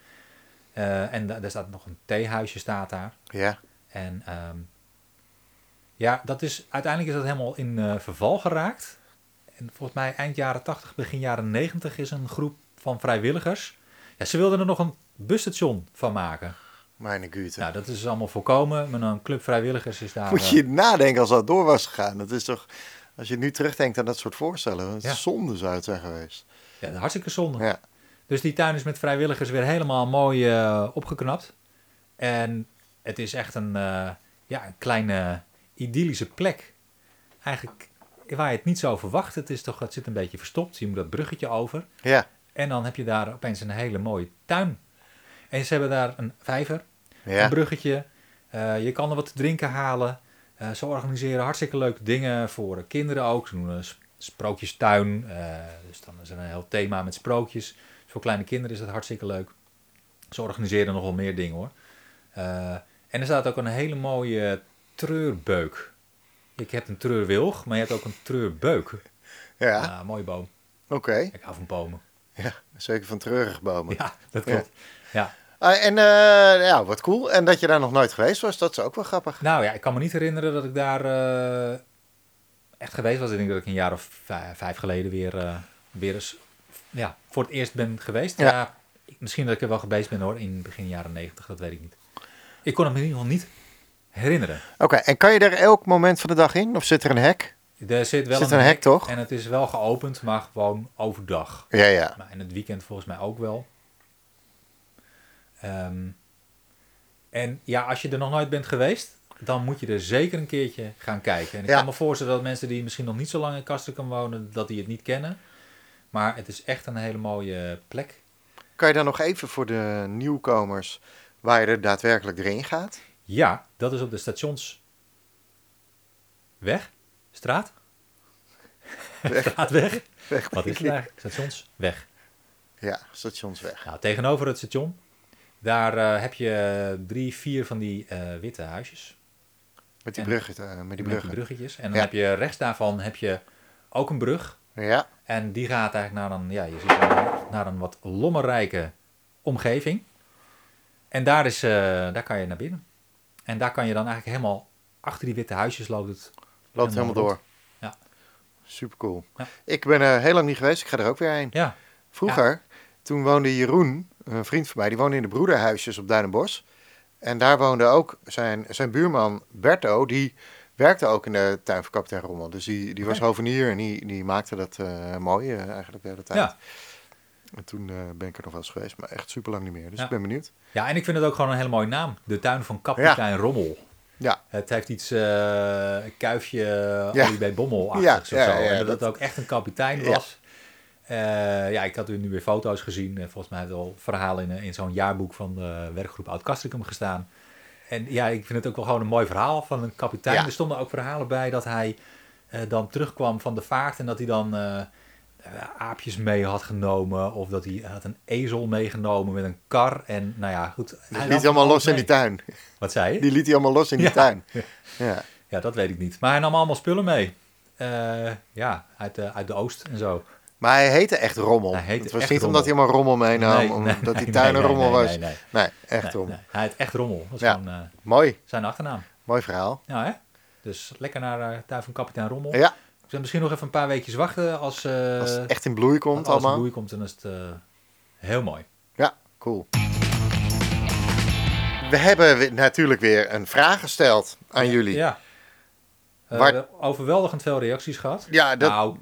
[SPEAKER 1] Eh, en da- daar staat nog een theehuisje staat daar.
[SPEAKER 2] ja.
[SPEAKER 1] En ehm, ja, dat is, uiteindelijk is dat helemaal in eh, verval geraakt. En volgens mij eind jaren 80, begin jaren 90 is een groep van vrijwilligers. Ja, ze wilden er nog een busstation van maken.
[SPEAKER 2] mijn gute.
[SPEAKER 1] Nou, dat is allemaal voorkomen. Maar een club vrijwilligers is daar...
[SPEAKER 2] Moet
[SPEAKER 1] eh,
[SPEAKER 2] je nadenken als dat door was gegaan. Dat is toch, als je nu terugdenkt aan dat soort voorstellen, dat
[SPEAKER 1] Ja.
[SPEAKER 2] zonde zou het zijn geweest.
[SPEAKER 1] ja, hartstikke zonde.
[SPEAKER 2] Ja,
[SPEAKER 1] Dus die tuin is met vrijwilligers weer helemaal mooi eh, opgeknapt. En het is echt een, eh, ja, een kleine idyllische plek. Eigenlijk waar je het niet zou verwachten. Het, is toch, het zit een beetje verstopt. Je moet dat bruggetje over.
[SPEAKER 2] ja,
[SPEAKER 1] En dan heb je daar opeens een hele mooie tuin. En ze hebben daar een vijver,
[SPEAKER 2] ja.
[SPEAKER 1] een bruggetje. Eh, je kan er wat te drinken halen. Eh, ze organiseren hartstikke leuke dingen voor eh, kinderen ook. Ze noemen een sp- sprookjestuin. Eh, dus dan is er een heel thema met sprookjes. Dus voor kleine kinderen is dat hartstikke leuk. Ze organiseren nog wel meer dingen hoor. Eh, en er staat ook een hele mooie treurbeuk. Ik heb een treurwilg, maar je hebt ook een treurbeuk.
[SPEAKER 2] ja.
[SPEAKER 1] Ah, mooie boom.
[SPEAKER 2] Oké,
[SPEAKER 1] Ik hou van bomen.
[SPEAKER 2] ja. zeker van treurige bomen.
[SPEAKER 1] Ja, dat klopt. ja.
[SPEAKER 2] Ah, en eh, ja, wat cool. En dat je daar nog nooit geweest was, dat is ook wel grappig.
[SPEAKER 1] Nou ja, ik kan me niet herinneren dat ik daar eh, echt geweest was. Ik denk dat ik een jaar of vijf, vijf geleden weer, eh, weer eens ja, voor het eerst ben geweest.
[SPEAKER 2] Ja.
[SPEAKER 1] Ja. ik- misschien dat ik er wel geweest ben hoor, in begin jaren negentig, dat weet ik niet. Ik kon het me in ieder geval niet herinneren.
[SPEAKER 2] Oké, en kan je daar elk moment van de dag in? Of zit er een hek?
[SPEAKER 1] Er zit wel
[SPEAKER 2] Zit er een hek, toch?
[SPEAKER 1] En het is wel geopend, maar gewoon overdag.
[SPEAKER 2] Ja, ja.
[SPEAKER 1] Maar Nou, in het weekend volgens mij ook wel. Ehm, en ja, als je er nog nooit bent geweest, dan moet je er zeker een keertje gaan kijken. En ik
[SPEAKER 2] Ja.
[SPEAKER 1] kan me voorstellen dat mensen die misschien nog niet zo lang in Castricum wonen, dat die het niet kennen. Maar het is echt een hele mooie plek.
[SPEAKER 2] Kan je dan nog even voor de nieuwkomers, waar je er daadwerkelijk erin gaat?
[SPEAKER 1] Ja, dat is op de stationsweg. Straat? Straatweg? Wat is het eigenlijk? Stationsweg.
[SPEAKER 2] Ja, stationsweg.
[SPEAKER 1] Nou, tegenover het station, daar eh, heb je drie, vier van die eh, witte huisjes.
[SPEAKER 2] Met die
[SPEAKER 1] En-
[SPEAKER 2] bruggen. eh, met die
[SPEAKER 1] met die
[SPEAKER 2] bruggen.
[SPEAKER 1] bruggetjes. En dan
[SPEAKER 2] Ja.
[SPEAKER 1] heb je rechts daarvan heb je ook een brug.
[SPEAKER 2] Ja,
[SPEAKER 1] En die gaat eigenlijk naar een, ja, je ziet naar, naar een wat lommerrijke omgeving. En daar, is, eh, daar kan je naar binnen. En daar kan je dan eigenlijk helemaal achter die witte huisjes loopt het.
[SPEAKER 2] loopt helemaal
[SPEAKER 1] Helemaal
[SPEAKER 2] door.
[SPEAKER 1] rond. Ja.
[SPEAKER 2] Super cool.
[SPEAKER 1] Ja.
[SPEAKER 2] Ik ben er heel lang niet geweest, ik ga er ook weer heen.
[SPEAKER 1] Ja,
[SPEAKER 2] Vroeger, toen woonde Jeroen, een vriend van mij, die woonde in de broederhuisjes op Duinenbos. En daar woonde ook zijn, zijn buurman Berto, die werkte ook in de tuin van kapitein Rommel. Dus die, die was
[SPEAKER 1] Oké.
[SPEAKER 2] hovenier en die, die maakte dat eh, mooi eh, eigenlijk de hele tijd.
[SPEAKER 1] ja.
[SPEAKER 2] En toen eh, ben ik er nog wel eens geweest, maar echt super lang niet meer. Dus
[SPEAKER 1] Ja.
[SPEAKER 2] ik ben benieuwd.
[SPEAKER 1] ja, en ik vind het ook gewoon een hele mooie naam. De tuin van kapitein Rommel.
[SPEAKER 2] Ja,
[SPEAKER 1] Het heeft iets eh, een kuifje
[SPEAKER 2] Ja.
[SPEAKER 1] olie bij bommel
[SPEAKER 2] Ja,
[SPEAKER 1] achtigs
[SPEAKER 2] ja,
[SPEAKER 1] of zo.
[SPEAKER 2] ja,
[SPEAKER 1] en dat,
[SPEAKER 2] dat-
[SPEAKER 1] het ook echt een kapitein
[SPEAKER 2] Ja.
[SPEAKER 1] was. Eh, ja, ik had nu weer foto's gezien. Eh, Volgens mij had al verhaal in, eh, in zo'n jaarboek van de werkgroep Oud Castricum gestaan. En ja, ik vind het ook wel gewoon een mooi verhaal van een kapitein.
[SPEAKER 2] Ja.
[SPEAKER 1] Er stonden ook verhalen bij dat hij eh, dan terugkwam van de vaart en dat hij dan eh, aapjes mee had genomen. Of dat hij had een ezel meegenomen met een kar. En nou ja, goed.
[SPEAKER 2] Die liet hij allemaal los
[SPEAKER 1] mee.
[SPEAKER 2] in die tuin.
[SPEAKER 1] Wat zei je?
[SPEAKER 2] Die liet hij allemaal los in die
[SPEAKER 1] Ja.
[SPEAKER 2] tuin. Ja.
[SPEAKER 1] Ja, dat weet ik niet. Maar hij nam allemaal spullen mee. Eh, ja, uit de, uit de oost en zo.
[SPEAKER 2] Maar hij heette echt rommel.
[SPEAKER 1] Hij heette
[SPEAKER 2] het was
[SPEAKER 1] echt
[SPEAKER 2] niet omdat hij allemaal rommel meenam,
[SPEAKER 1] Nee, nee,
[SPEAKER 2] Nou, omdat die
[SPEAKER 1] nee,
[SPEAKER 2] tuin een
[SPEAKER 1] nee,
[SPEAKER 2] rommel
[SPEAKER 1] nee,
[SPEAKER 2] was.
[SPEAKER 1] nee,
[SPEAKER 2] Nee,
[SPEAKER 1] nee.
[SPEAKER 2] echt
[SPEAKER 1] Nee,
[SPEAKER 2] rommel.
[SPEAKER 1] nee, hij heet echt rommel. Dat is
[SPEAKER 2] Ja.
[SPEAKER 1] gewoon eh,
[SPEAKER 2] Mooi,
[SPEAKER 1] zijn achternaam.
[SPEAKER 2] mooi verhaal.
[SPEAKER 1] Ja, hè? Dus lekker naar eh tuin van kapitein Rommel.
[SPEAKER 2] Ja,
[SPEAKER 1] We zijn misschien nog even een paar weekjes wachten als, eh,
[SPEAKER 2] als het echt in bloei komt
[SPEAKER 1] als alles in
[SPEAKER 2] allemaal.
[SPEAKER 1] bloei komt. Dan is het eh, heel mooi.
[SPEAKER 2] Ja, cool. We hebben we- natuurlijk weer een vraag gesteld aan jullie.
[SPEAKER 1] Ja. Eh,
[SPEAKER 2] Waar-
[SPEAKER 1] we hebben overweldigend veel reacties gehad.
[SPEAKER 2] Ja, dat-
[SPEAKER 1] Nou,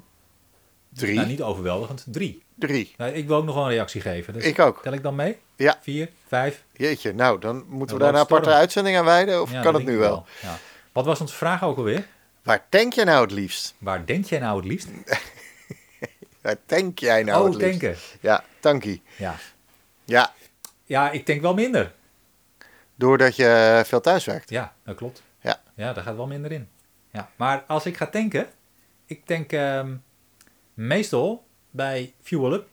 [SPEAKER 2] Drie,
[SPEAKER 1] nou, niet overweldigend. Drie.
[SPEAKER 2] drie.
[SPEAKER 1] Nou, ik wil ook nog wel een reactie geven. Dus
[SPEAKER 2] Ik ook.
[SPEAKER 1] Tel ik dan mee?
[SPEAKER 2] Ja.
[SPEAKER 1] Vier, vijf.
[SPEAKER 2] Jeetje, nou, dan moeten we
[SPEAKER 1] Dan
[SPEAKER 2] daar een
[SPEAKER 1] wordt het
[SPEAKER 2] aparte
[SPEAKER 1] storm.
[SPEAKER 2] uitzending aan wijden. Of
[SPEAKER 1] Ja,
[SPEAKER 2] kan
[SPEAKER 1] dat
[SPEAKER 2] het
[SPEAKER 1] denk
[SPEAKER 2] nu
[SPEAKER 1] ik
[SPEAKER 2] wel?
[SPEAKER 1] Ja. Wat was onze vraag ook alweer?
[SPEAKER 2] Waar tank jij nou het liefst?
[SPEAKER 1] Waar denk jij nou het liefst?
[SPEAKER 2] Waar tank jij nou
[SPEAKER 1] oh,
[SPEAKER 2] het liefst?
[SPEAKER 1] denken.
[SPEAKER 2] Ja, tankie.
[SPEAKER 1] Ja.
[SPEAKER 2] Ja,
[SPEAKER 1] ja, ik denk wel minder.
[SPEAKER 2] doordat je veel thuis werkt.
[SPEAKER 1] Ja, dat klopt.
[SPEAKER 2] Ja.
[SPEAKER 1] Ja, daar gaat wel minder in. Ja. Maar als ik ga tanken, ik tank ehm, meestal bij Fuel Up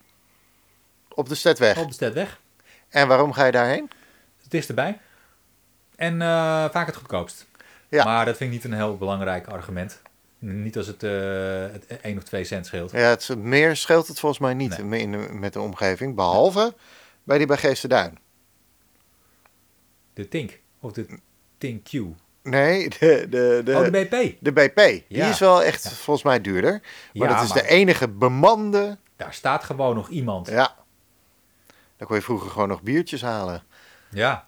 [SPEAKER 2] Op de Stedweg.
[SPEAKER 1] op de Stedweg.
[SPEAKER 2] En waarom ga je daarheen?
[SPEAKER 1] Het is erbij. En eh, vaak het goedkoopst.
[SPEAKER 2] Ja.
[SPEAKER 1] Maar dat vind ik niet een heel belangrijk argument. Niet als het, eh het 1 of 2 cent scheelt.
[SPEAKER 2] Ja, het, is- meer scheelt het volgens mij niet in de- met de omgeving. Behalve bij die bij Geesterduin.
[SPEAKER 1] De Tink. Of de Tink Q.
[SPEAKER 2] Nee, de, de, de,
[SPEAKER 1] oh, de BP.
[SPEAKER 2] de BP. Die
[SPEAKER 1] Ja.
[SPEAKER 2] is wel echt volgens mij duurder. Maar
[SPEAKER 1] Ja,
[SPEAKER 2] dat is
[SPEAKER 1] maar-
[SPEAKER 2] de enige bemande.
[SPEAKER 1] Daar staat gewoon nog iemand. Ja.
[SPEAKER 2] Ja. Daar kon je vroeger gewoon nog biertjes halen.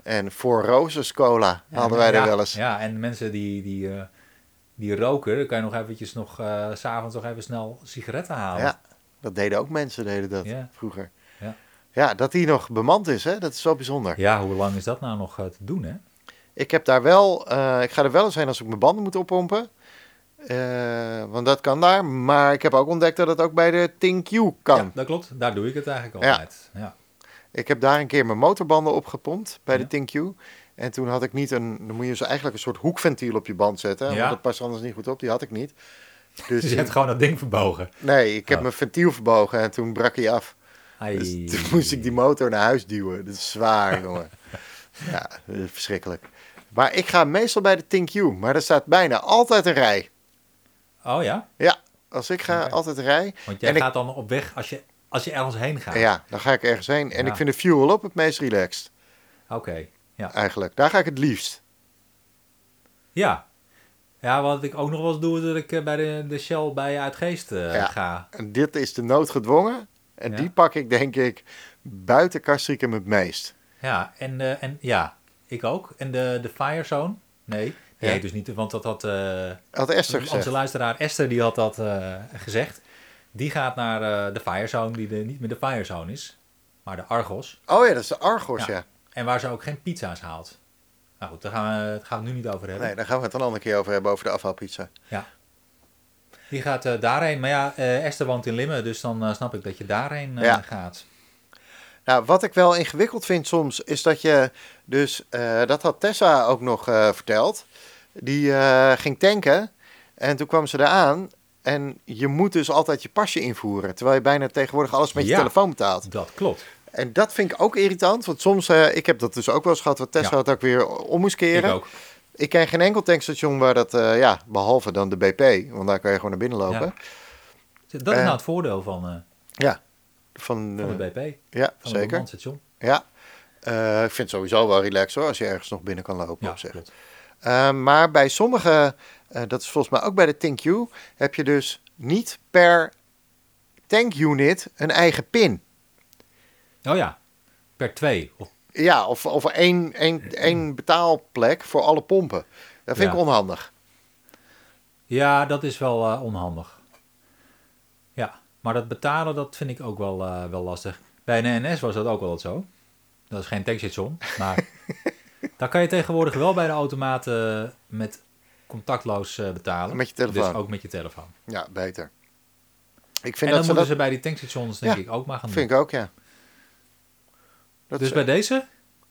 [SPEAKER 2] En voor Roses cola haalden wij
[SPEAKER 1] ja,
[SPEAKER 2] er wel eens.
[SPEAKER 1] Ja, en mensen die, die, eh, die roken, dan kan je nog eventjes nog, eh, s s'avonds nog even snel sigaretten halen.
[SPEAKER 2] Ja, dat deden ook mensen, deden dat
[SPEAKER 1] Ja.
[SPEAKER 2] vroeger.
[SPEAKER 1] Ja.
[SPEAKER 2] Ja, dat die nog bemand is, hè? dat is zo bijzonder.
[SPEAKER 1] Ja, hoe lang is dat nou nog eh, te doen, hè?
[SPEAKER 2] Ik heb daar wel, eh, ik ga er wel eens heen als ik mijn banden moet oppompen. Eh, want dat kan daar. Maar ik heb ook ontdekt dat het ook bij de Think You kan.
[SPEAKER 1] Ja, dat klopt. Daar doe ik het eigenlijk
[SPEAKER 2] Ja.
[SPEAKER 1] altijd. Ja.
[SPEAKER 2] Ik heb daar een keer mijn motorbanden opgepompt bij
[SPEAKER 1] Ja.
[SPEAKER 2] de Think You. En toen had ik niet een, dan moet je dus eigenlijk een soort hoekventiel op je band zetten.
[SPEAKER 1] Ja.
[SPEAKER 2] Want dat past anders niet goed op, die had ik niet.
[SPEAKER 1] Dus
[SPEAKER 2] Dus
[SPEAKER 1] je hebt gewoon dat ding verbogen.
[SPEAKER 2] nee, ik heb
[SPEAKER 1] Oh.
[SPEAKER 2] mijn ventiel verbogen en toen brak hij af.
[SPEAKER 1] Ai.
[SPEAKER 2] Dus toen moest ik die motor naar huis duwen. Dat is zwaar, jongen. Ja, dat is verschrikkelijk. Maar ik ga meestal bij de Think You, maar er staat bijna altijd een rij.
[SPEAKER 1] Oh ja?
[SPEAKER 2] Ja, als ik ga,
[SPEAKER 1] Oké.
[SPEAKER 2] altijd rij.
[SPEAKER 1] Want jij
[SPEAKER 2] En ik-
[SPEAKER 1] gaat dan op weg als je, als je ergens heen gaat.
[SPEAKER 2] Ja. dan ga ik ergens heen. En
[SPEAKER 1] Ja.
[SPEAKER 2] ik vind de fuel op het meest relaxed,
[SPEAKER 1] Oké. Ja.
[SPEAKER 2] eigenlijk. Daar ga ik het liefst.
[SPEAKER 1] ja. Ja, wat ik ook nog wel eens doe, is dat ik eh, bij de, de Shell bij Uitgeest eh,
[SPEAKER 2] Ja.
[SPEAKER 1] ga.
[SPEAKER 2] En dit is de noodgedwongen. En
[SPEAKER 1] Ja.
[SPEAKER 2] die pak ik, denk ik, buiten Kastrikum het meest.
[SPEAKER 1] Ja, en, eh, en ja, ik ook. En de, de Firezone? Nee, die
[SPEAKER 2] Ja.
[SPEAKER 1] heet dus niet, want dat had... eh,
[SPEAKER 2] Had Esther gezegd.
[SPEAKER 1] Onze luisteraar Esther die had dat eh, gezegd. Die gaat naar eh, de Firezone, die de, niet meer de Firezone is, maar de Argos.
[SPEAKER 2] Oh ja, dat is de Argos, ja.
[SPEAKER 1] Ja. En waar ze ook geen pizza's haalt. Nou goed, daar gaan we, daar gaan we het nu niet over hebben.
[SPEAKER 2] Nee, daar gaan we het een andere keer over hebben, over de afvalpizza.
[SPEAKER 1] Ja. Die gaat eh, daarheen. Maar ja, eh, Esther woont in Limmen, dus dan eh, snap ik dat je daarheen eh,
[SPEAKER 2] Ja.
[SPEAKER 1] gaat.
[SPEAKER 2] Nou, wat ik wel ingewikkeld vind soms, is dat je dus, eh, dat had Tessa ook nog eh, verteld, die eh, ging tanken en toen kwam ze eraan en je moet dus altijd je pasje invoeren, terwijl je bijna tegenwoordig alles met je
[SPEAKER 1] Ja.
[SPEAKER 2] telefoon betaalt.
[SPEAKER 1] Dat klopt.
[SPEAKER 2] En dat vind ik ook irritant, want soms, eh, ik heb dat dus ook wel eens gehad, wat Tessa
[SPEAKER 1] Ja.
[SPEAKER 2] het ook weer om moest
[SPEAKER 1] Ik
[SPEAKER 2] keren.
[SPEAKER 1] ook.
[SPEAKER 2] Ik ken geen enkel tankstation waar dat, eh, ja, behalve dan de BP, want daar kan je gewoon naar binnen lopen.
[SPEAKER 1] Dat is
[SPEAKER 2] Eh.
[SPEAKER 1] nou het voordeel van, eh,
[SPEAKER 2] Ja, van,
[SPEAKER 1] van
[SPEAKER 2] eh,
[SPEAKER 1] de BP.
[SPEAKER 2] ja,
[SPEAKER 1] Van het
[SPEAKER 2] zeker.
[SPEAKER 1] Romanstation.
[SPEAKER 2] Ja. Eh, ik vind het sowieso wel relaxed hoor, als je ergens nog binnen kan lopen
[SPEAKER 1] Ja,
[SPEAKER 2] op zich.
[SPEAKER 1] klopt.
[SPEAKER 2] Eh, maar bij sommige, eh, dat is volgens mij ook bij de Tank You, heb je dus niet per tank unit een eigen pin.
[SPEAKER 1] Oh ja, per twee. Of-
[SPEAKER 2] Ja, of, of één, één, één betaalplek voor alle pompen. Dat vind
[SPEAKER 1] Ja.
[SPEAKER 2] ik onhandig.
[SPEAKER 1] Ja, dat is wel eh, onhandig. Ja, maar dat betalen, dat vind ik ook wel, eh, wel lastig. Bij een NS was dat ook wel zo. Dat is geen tankstation, maar... daar kan je tegenwoordig wel bij de automaten eh, met contactloos eh, betalen.
[SPEAKER 2] Met je telefoon.
[SPEAKER 1] Dus ook met je telefoon.
[SPEAKER 2] Ja, beter. Ik
[SPEAKER 1] en
[SPEAKER 2] vind
[SPEAKER 1] dan
[SPEAKER 2] dat ze
[SPEAKER 1] moeten
[SPEAKER 2] dat...
[SPEAKER 1] ze bij die tankstations denk
[SPEAKER 2] Ja,
[SPEAKER 1] ik ook maar gaan doen.
[SPEAKER 2] Vind ik ook, ja. Dat
[SPEAKER 1] dus
[SPEAKER 2] is-
[SPEAKER 1] bij deze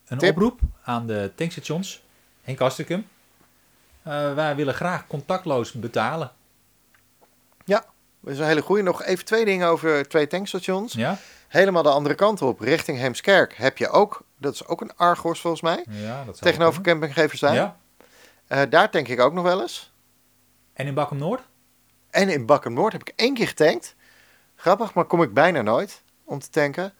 [SPEAKER 1] een
[SPEAKER 2] Tip.
[SPEAKER 1] oproep aan de tankstations. Henk Astrikum. Eh, wij willen graag contactloos betalen.
[SPEAKER 2] Ja, Dat is een hele goede. Nog even twee dingen over twee tankstations.
[SPEAKER 1] Ja?
[SPEAKER 2] Helemaal de andere kant op, richting Heemskerk, heb je ook, dat is ook een Argos volgens mij,
[SPEAKER 1] ja dat zou
[SPEAKER 2] tegenover
[SPEAKER 1] kunnen.
[SPEAKER 2] campinggevers zijn. Eh,
[SPEAKER 1] Ja.
[SPEAKER 2] daar tank ik ook nog wel eens.
[SPEAKER 1] En in Bakkum Noord?
[SPEAKER 2] En in Bakkum Noord heb ik één keer getankt. Grappig, maar kom ik bijna nooit om te tanken.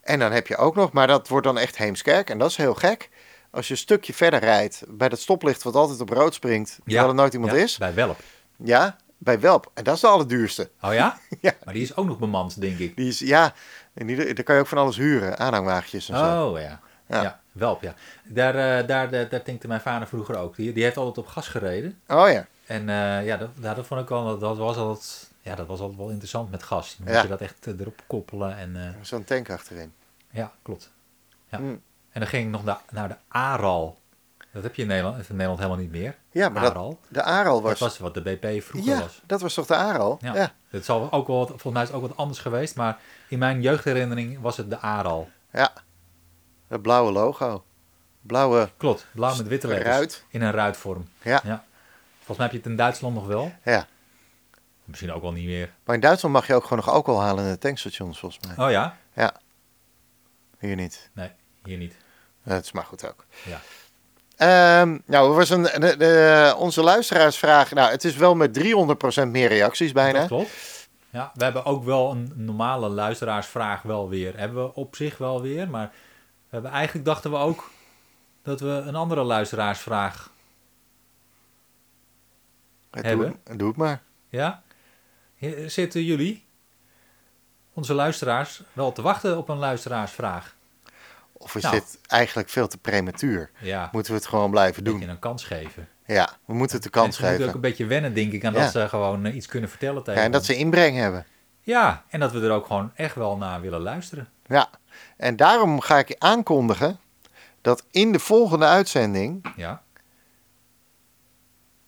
[SPEAKER 2] En dan heb je ook nog, maar dat wordt dan echt Heemskerk. En dat is heel gek. Als je een stukje verder rijdt, bij dat stoplicht wat altijd op rood springt, terwijl er nooit iemand
[SPEAKER 1] ja,
[SPEAKER 2] is.
[SPEAKER 1] Bij Welp.
[SPEAKER 2] Ja, bij Welp. En dat is de allerduurste.
[SPEAKER 1] Oh ja?
[SPEAKER 2] Ja.
[SPEAKER 1] Maar die is ook nog bemand, denk ik.
[SPEAKER 2] Die is, ja, en die, daar kan je ook van alles huren. Aanhangwagentjes en zo.
[SPEAKER 1] Oh ja.
[SPEAKER 2] Ja.
[SPEAKER 1] Ja, Welp, ja. Daar, eh, daar, daar, daar tankte mijn vader vroeger ook. Die, die heeft altijd op gas gereden.
[SPEAKER 2] Oh ja.
[SPEAKER 1] En eh, ja, dat, ja, dat vond ik wel, dat was altijd, ja, dat was altijd wel interessant met gas. Dan
[SPEAKER 2] Ja.
[SPEAKER 1] moet je dat echt eh, erop koppelen. En, eh,
[SPEAKER 2] Zo'n tank achterin.
[SPEAKER 1] ja, klopt. Ja.
[SPEAKER 2] Mm.
[SPEAKER 1] En dan ging ik nog naar, naar de Aral. Dat heb je in Nederland, in Nederland helemaal niet meer.
[SPEAKER 2] Ja, maar dat,
[SPEAKER 1] Aral.
[SPEAKER 2] de Aral was...
[SPEAKER 1] Dat was wat de BP vroeger
[SPEAKER 2] ja,
[SPEAKER 1] was.
[SPEAKER 2] dat was toch de Aral?
[SPEAKER 1] Ja.
[SPEAKER 2] ja.
[SPEAKER 1] Het zal ook wel, wat- volgens mij is het ook wat anders geweest, maar in mijn jeugdherinnering was het de Aral.
[SPEAKER 2] Ja. Dat blauwe logo. Blauwe
[SPEAKER 1] Klopt, blauw met witte letters.
[SPEAKER 2] ruit.
[SPEAKER 1] In een ruitvorm.
[SPEAKER 2] Ja.
[SPEAKER 1] ja. Volgens mij heb je het in Duitsland nog wel.
[SPEAKER 2] Ja.
[SPEAKER 1] Misschien ook wel niet meer.
[SPEAKER 2] Maar in Duitsland mag je ook gewoon nog alcohol halen in de tankstations, volgens mij.
[SPEAKER 1] Oh ja?
[SPEAKER 2] Ja. Hier niet.
[SPEAKER 1] Nee, hier niet.
[SPEAKER 2] Dat is maar goed ook.
[SPEAKER 1] Ja.
[SPEAKER 2] Ehm, nou, er was een, de, de- onze luisteraarsvraag. Nou, het is wel met 300% meer reacties bijna.
[SPEAKER 1] Dat klopt. Ja, we hebben ook wel een normale luisteraarsvraag wel weer. Hebben we op zich wel weer, maar we hebben, eigenlijk dachten we ook dat we een andere luisteraarsvraag...
[SPEAKER 2] Het
[SPEAKER 1] Hebben.
[SPEAKER 2] Doe, doe het maar.
[SPEAKER 1] Ja? Hier Zitten jullie, onze luisteraars, wel te wachten op een luisteraarsvraag?
[SPEAKER 2] Of is
[SPEAKER 1] Nou.
[SPEAKER 2] dit eigenlijk veel te prematuur?
[SPEAKER 1] Ja,
[SPEAKER 2] Moeten we het gewoon blijven
[SPEAKER 1] een beetje
[SPEAKER 2] doen?
[SPEAKER 1] een kans geven.
[SPEAKER 2] Ja, we moeten het de kans
[SPEAKER 1] Mensen moeten ook
[SPEAKER 2] geven.
[SPEAKER 1] een beetje wennen, denk ik, aan
[SPEAKER 2] Ja.
[SPEAKER 1] dat ze gewoon eh, iets kunnen vertellen tegen
[SPEAKER 2] Ja, en dat
[SPEAKER 1] ons.
[SPEAKER 2] ze inbreng hebben.
[SPEAKER 1] Ja, en dat we er ook gewoon echt wel naar willen luisteren.
[SPEAKER 2] Ja, en daarom ga ik je aankondigen dat in de volgende uitzending.
[SPEAKER 1] Ja.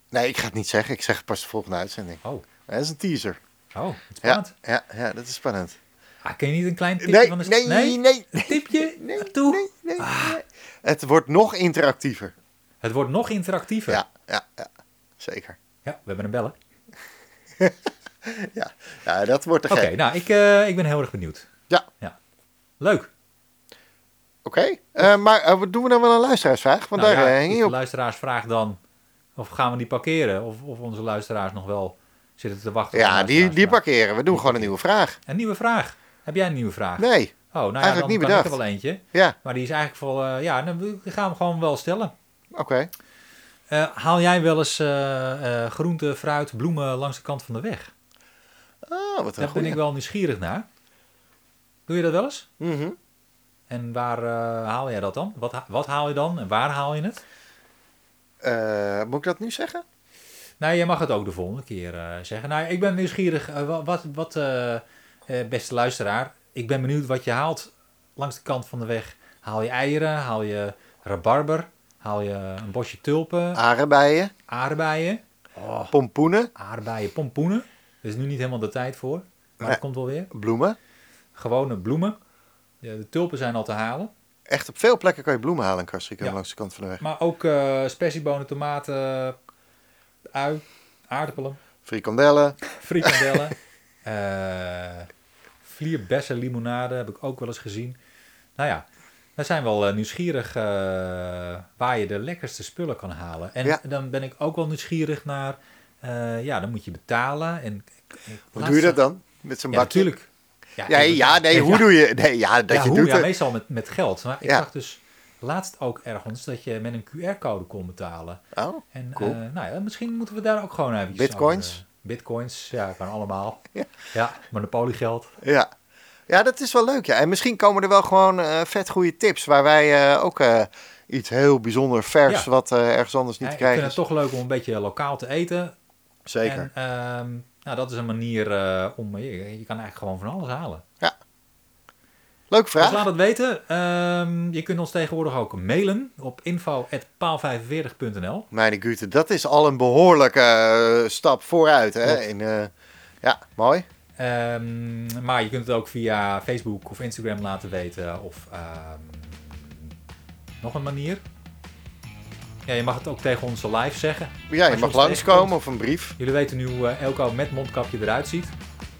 [SPEAKER 2] Nee, ik ga het niet zeggen, ik zeg het pas de volgende uitzending.
[SPEAKER 1] Oh,
[SPEAKER 2] Dat is een teaser.
[SPEAKER 1] oh, het is
[SPEAKER 2] Ja,
[SPEAKER 1] spannend.
[SPEAKER 2] ja, ja, dat is spannend.
[SPEAKER 1] Ah, kun je niet een klein tipje
[SPEAKER 2] Nee,
[SPEAKER 1] van de...
[SPEAKER 2] nee, nee, nee.
[SPEAKER 1] Een tipje?
[SPEAKER 2] Nee,
[SPEAKER 1] Toe. Ah.
[SPEAKER 2] nee, nee, nee. Het wordt nog interactiever.
[SPEAKER 1] Het wordt nog interactiever. Ja.
[SPEAKER 2] Ja, ja, ja zeker.
[SPEAKER 1] we hebben een bellen.
[SPEAKER 2] Ja. ja, dat wordt te
[SPEAKER 1] Oké,
[SPEAKER 2] gek.
[SPEAKER 1] nou, ik, eh, ik ben heel erg benieuwd.
[SPEAKER 2] Ja, oké.
[SPEAKER 1] Leuk.
[SPEAKER 2] Eh, maar eh, wat doen we dan wel een luisteraarsvraag? Want
[SPEAKER 1] nou,
[SPEAKER 2] daar
[SPEAKER 1] ja,
[SPEAKER 2] eh, hing
[SPEAKER 1] is
[SPEAKER 2] je
[SPEAKER 1] de
[SPEAKER 2] op.
[SPEAKER 1] luisteraarsvraag dan... Of gaan we die parkeren? Of, of onze luisteraars nog wel zitten te wachten? op
[SPEAKER 2] Ja,
[SPEAKER 1] een
[SPEAKER 2] die, die
[SPEAKER 1] luisteraarsvraag?
[SPEAKER 2] parkeren. We doen gewoon een nieuwe vraag.
[SPEAKER 1] Een nieuwe vraag. Heb jij een nieuwe vraag?
[SPEAKER 2] Nee,
[SPEAKER 1] Oh, nou ja,
[SPEAKER 2] Eigenlijk
[SPEAKER 1] dan
[SPEAKER 2] niet
[SPEAKER 1] kan
[SPEAKER 2] bedacht.
[SPEAKER 1] ik er wel eentje.
[SPEAKER 2] ja,
[SPEAKER 1] Maar die is eigenlijk voor... eh, ja, dan gaan we hem gewoon wel stellen.
[SPEAKER 2] oké.
[SPEAKER 1] Eh, haal jij wel eens eh, eh, groente, fruit, bloemen langs de kant van de weg?
[SPEAKER 2] Ah, wat een
[SPEAKER 1] Daar ben
[SPEAKER 2] goeie.
[SPEAKER 1] ik wel nieuwsgierig naar. Doe je dat wel eens?
[SPEAKER 2] Mhm.
[SPEAKER 1] En waar eh, haal jij dat dan? Wat, ha- wat haal je dan en waar haal je het?
[SPEAKER 2] Eh, moet ik dat nu zeggen?
[SPEAKER 1] Nou, jij mag het ook de volgende keer eh, zeggen. Nou, ik ben nieuwsgierig. eh, wa- wat, wat eh, eh, beste luisteraar, ik ben benieuwd wat je haalt langs de kant van de weg. Haal je eieren? Haal je rabarber? Haal je een bosje tulpen?
[SPEAKER 2] Aardbeien,
[SPEAKER 1] Aardbeien? Oh,
[SPEAKER 2] pompoenen,
[SPEAKER 1] aardbeien, pompoenen. Er is nu niet helemaal de tijd voor, maar
[SPEAKER 2] Nee.
[SPEAKER 1] dat komt wel weer.
[SPEAKER 2] bloemen.
[SPEAKER 1] Gewone bloemen. Ja, De tulpen zijn al te halen.
[SPEAKER 2] Echt op veel plekken kan je bloemen halen in Costa Rica,
[SPEAKER 1] Ja.
[SPEAKER 2] langs de kant van de weg.
[SPEAKER 1] Maar ook eh spersiebonen, tomaten, ui, aardappelen,
[SPEAKER 2] Frikandellen.
[SPEAKER 1] frikandellen, eh vlierbessen, limonade heb ik ook wel eens gezien. Nou ja, we zijn wel eh, nieuwsgierig eh, waar je de lekkerste spullen kan halen. En
[SPEAKER 2] Ja.
[SPEAKER 1] dan ben ik ook wel nieuwsgierig naar, eh, ja, dan moet je betalen. En,
[SPEAKER 2] Hoe doe je dat dan? Met zo'n
[SPEAKER 1] Ja,
[SPEAKER 2] bakje?
[SPEAKER 1] natuurlijk.
[SPEAKER 2] Ja, nee, ja, nee, hoe
[SPEAKER 1] ja.
[SPEAKER 2] doe je... Nee, ja, dat
[SPEAKER 1] ja,
[SPEAKER 2] je
[SPEAKER 1] hoe?
[SPEAKER 2] doet
[SPEAKER 1] ja,
[SPEAKER 2] het.
[SPEAKER 1] meestal met, met geld. Maar ik
[SPEAKER 2] Ja.
[SPEAKER 1] zag dus laatst ook ergens dat je met een QR-code kon betalen.
[SPEAKER 2] Oh,
[SPEAKER 1] En
[SPEAKER 2] Cool.
[SPEAKER 1] eh, nou ja, misschien moeten we daar ook gewoon even...
[SPEAKER 2] Bitcoins?
[SPEAKER 1] bitcoins, ja, kan allemaal.
[SPEAKER 2] Ja.
[SPEAKER 1] ja. monopoliegeld.
[SPEAKER 2] ja. Ja, dat is wel leuk, ja. En misschien komen er wel gewoon eh, vet goede tips... waar wij eh, ook eh, iets heel bijzonder vers...
[SPEAKER 1] Ja.
[SPEAKER 2] wat eh, ergens anders niet
[SPEAKER 1] Ja,
[SPEAKER 2] te
[SPEAKER 1] ik vind
[SPEAKER 2] krijgen
[SPEAKER 1] het
[SPEAKER 2] is.
[SPEAKER 1] toch leuk om een beetje lokaal te eten.
[SPEAKER 2] Zeker.
[SPEAKER 1] En ehm, nou, dat is een manier eh, om... Je, je kan eigenlijk gewoon van alles halen.
[SPEAKER 2] Leuke
[SPEAKER 1] Dus
[SPEAKER 2] vraag.
[SPEAKER 1] laat het weten. Ehm, je kunt ons tegenwoordig ook mailen op info.paal45.nl.
[SPEAKER 2] Mijn Gute, dat is al een behoorlijke eh, stap vooruit, hè?
[SPEAKER 1] Klopt.
[SPEAKER 2] In, eh, ja, mooi.
[SPEAKER 1] Ehm, maar je kunt het ook via Facebook of Instagram laten weten. Of ehm, nog een manier. Ja, je mag het ook tegen onze live zeggen.
[SPEAKER 2] Ja, je
[SPEAKER 1] je
[SPEAKER 2] mag
[SPEAKER 1] ons
[SPEAKER 2] langskomen
[SPEAKER 1] tegenkomt.
[SPEAKER 2] of een brief.
[SPEAKER 1] Jullie weten nu hoe eh, Elko met mondkapje eruit ziet.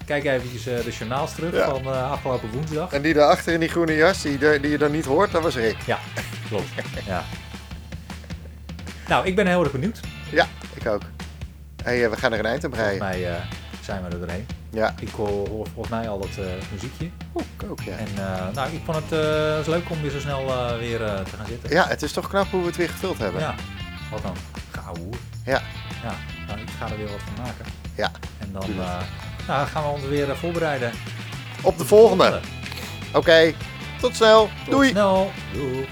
[SPEAKER 1] Kijk eventjes eh, de journaals terug
[SPEAKER 2] Ja.
[SPEAKER 1] van eh, afgelopen woensdag.
[SPEAKER 2] En die daarachter in die groene jas, die, de- die je dan niet hoort, dat was Rick.
[SPEAKER 1] Ja, klopt. Ja. Nou, ik ben heel erg benieuwd.
[SPEAKER 2] Ja, ik ook. Hey, eh, we gaan er een eind aan
[SPEAKER 1] Volgens
[SPEAKER 2] breien.
[SPEAKER 1] mij eh, zijn we er doorheen.
[SPEAKER 2] Ja,
[SPEAKER 1] Ik hoor, hoor volgens mij al dat eh, muziekje.
[SPEAKER 2] ik ook, ja.
[SPEAKER 1] En eh, nou, ik vond het eh, het is leuk om weer zo snel eh, weer eh, te gaan zitten.
[SPEAKER 2] Ja, het is toch knap hoe we het weer gevuld hebben.
[SPEAKER 1] Ja. Wat dan? Gauw hoer.
[SPEAKER 2] Ja.
[SPEAKER 1] Ja, nou, ik ga er weer wat van maken.
[SPEAKER 2] Ja.
[SPEAKER 1] En dan
[SPEAKER 2] Tuurlijk.
[SPEAKER 1] eh, nou, gaan we ons weer eh, voorbereiden.
[SPEAKER 2] Op de volgende. Oké, tot snel.
[SPEAKER 1] Tot
[SPEAKER 2] Doei.
[SPEAKER 1] snel. Doei.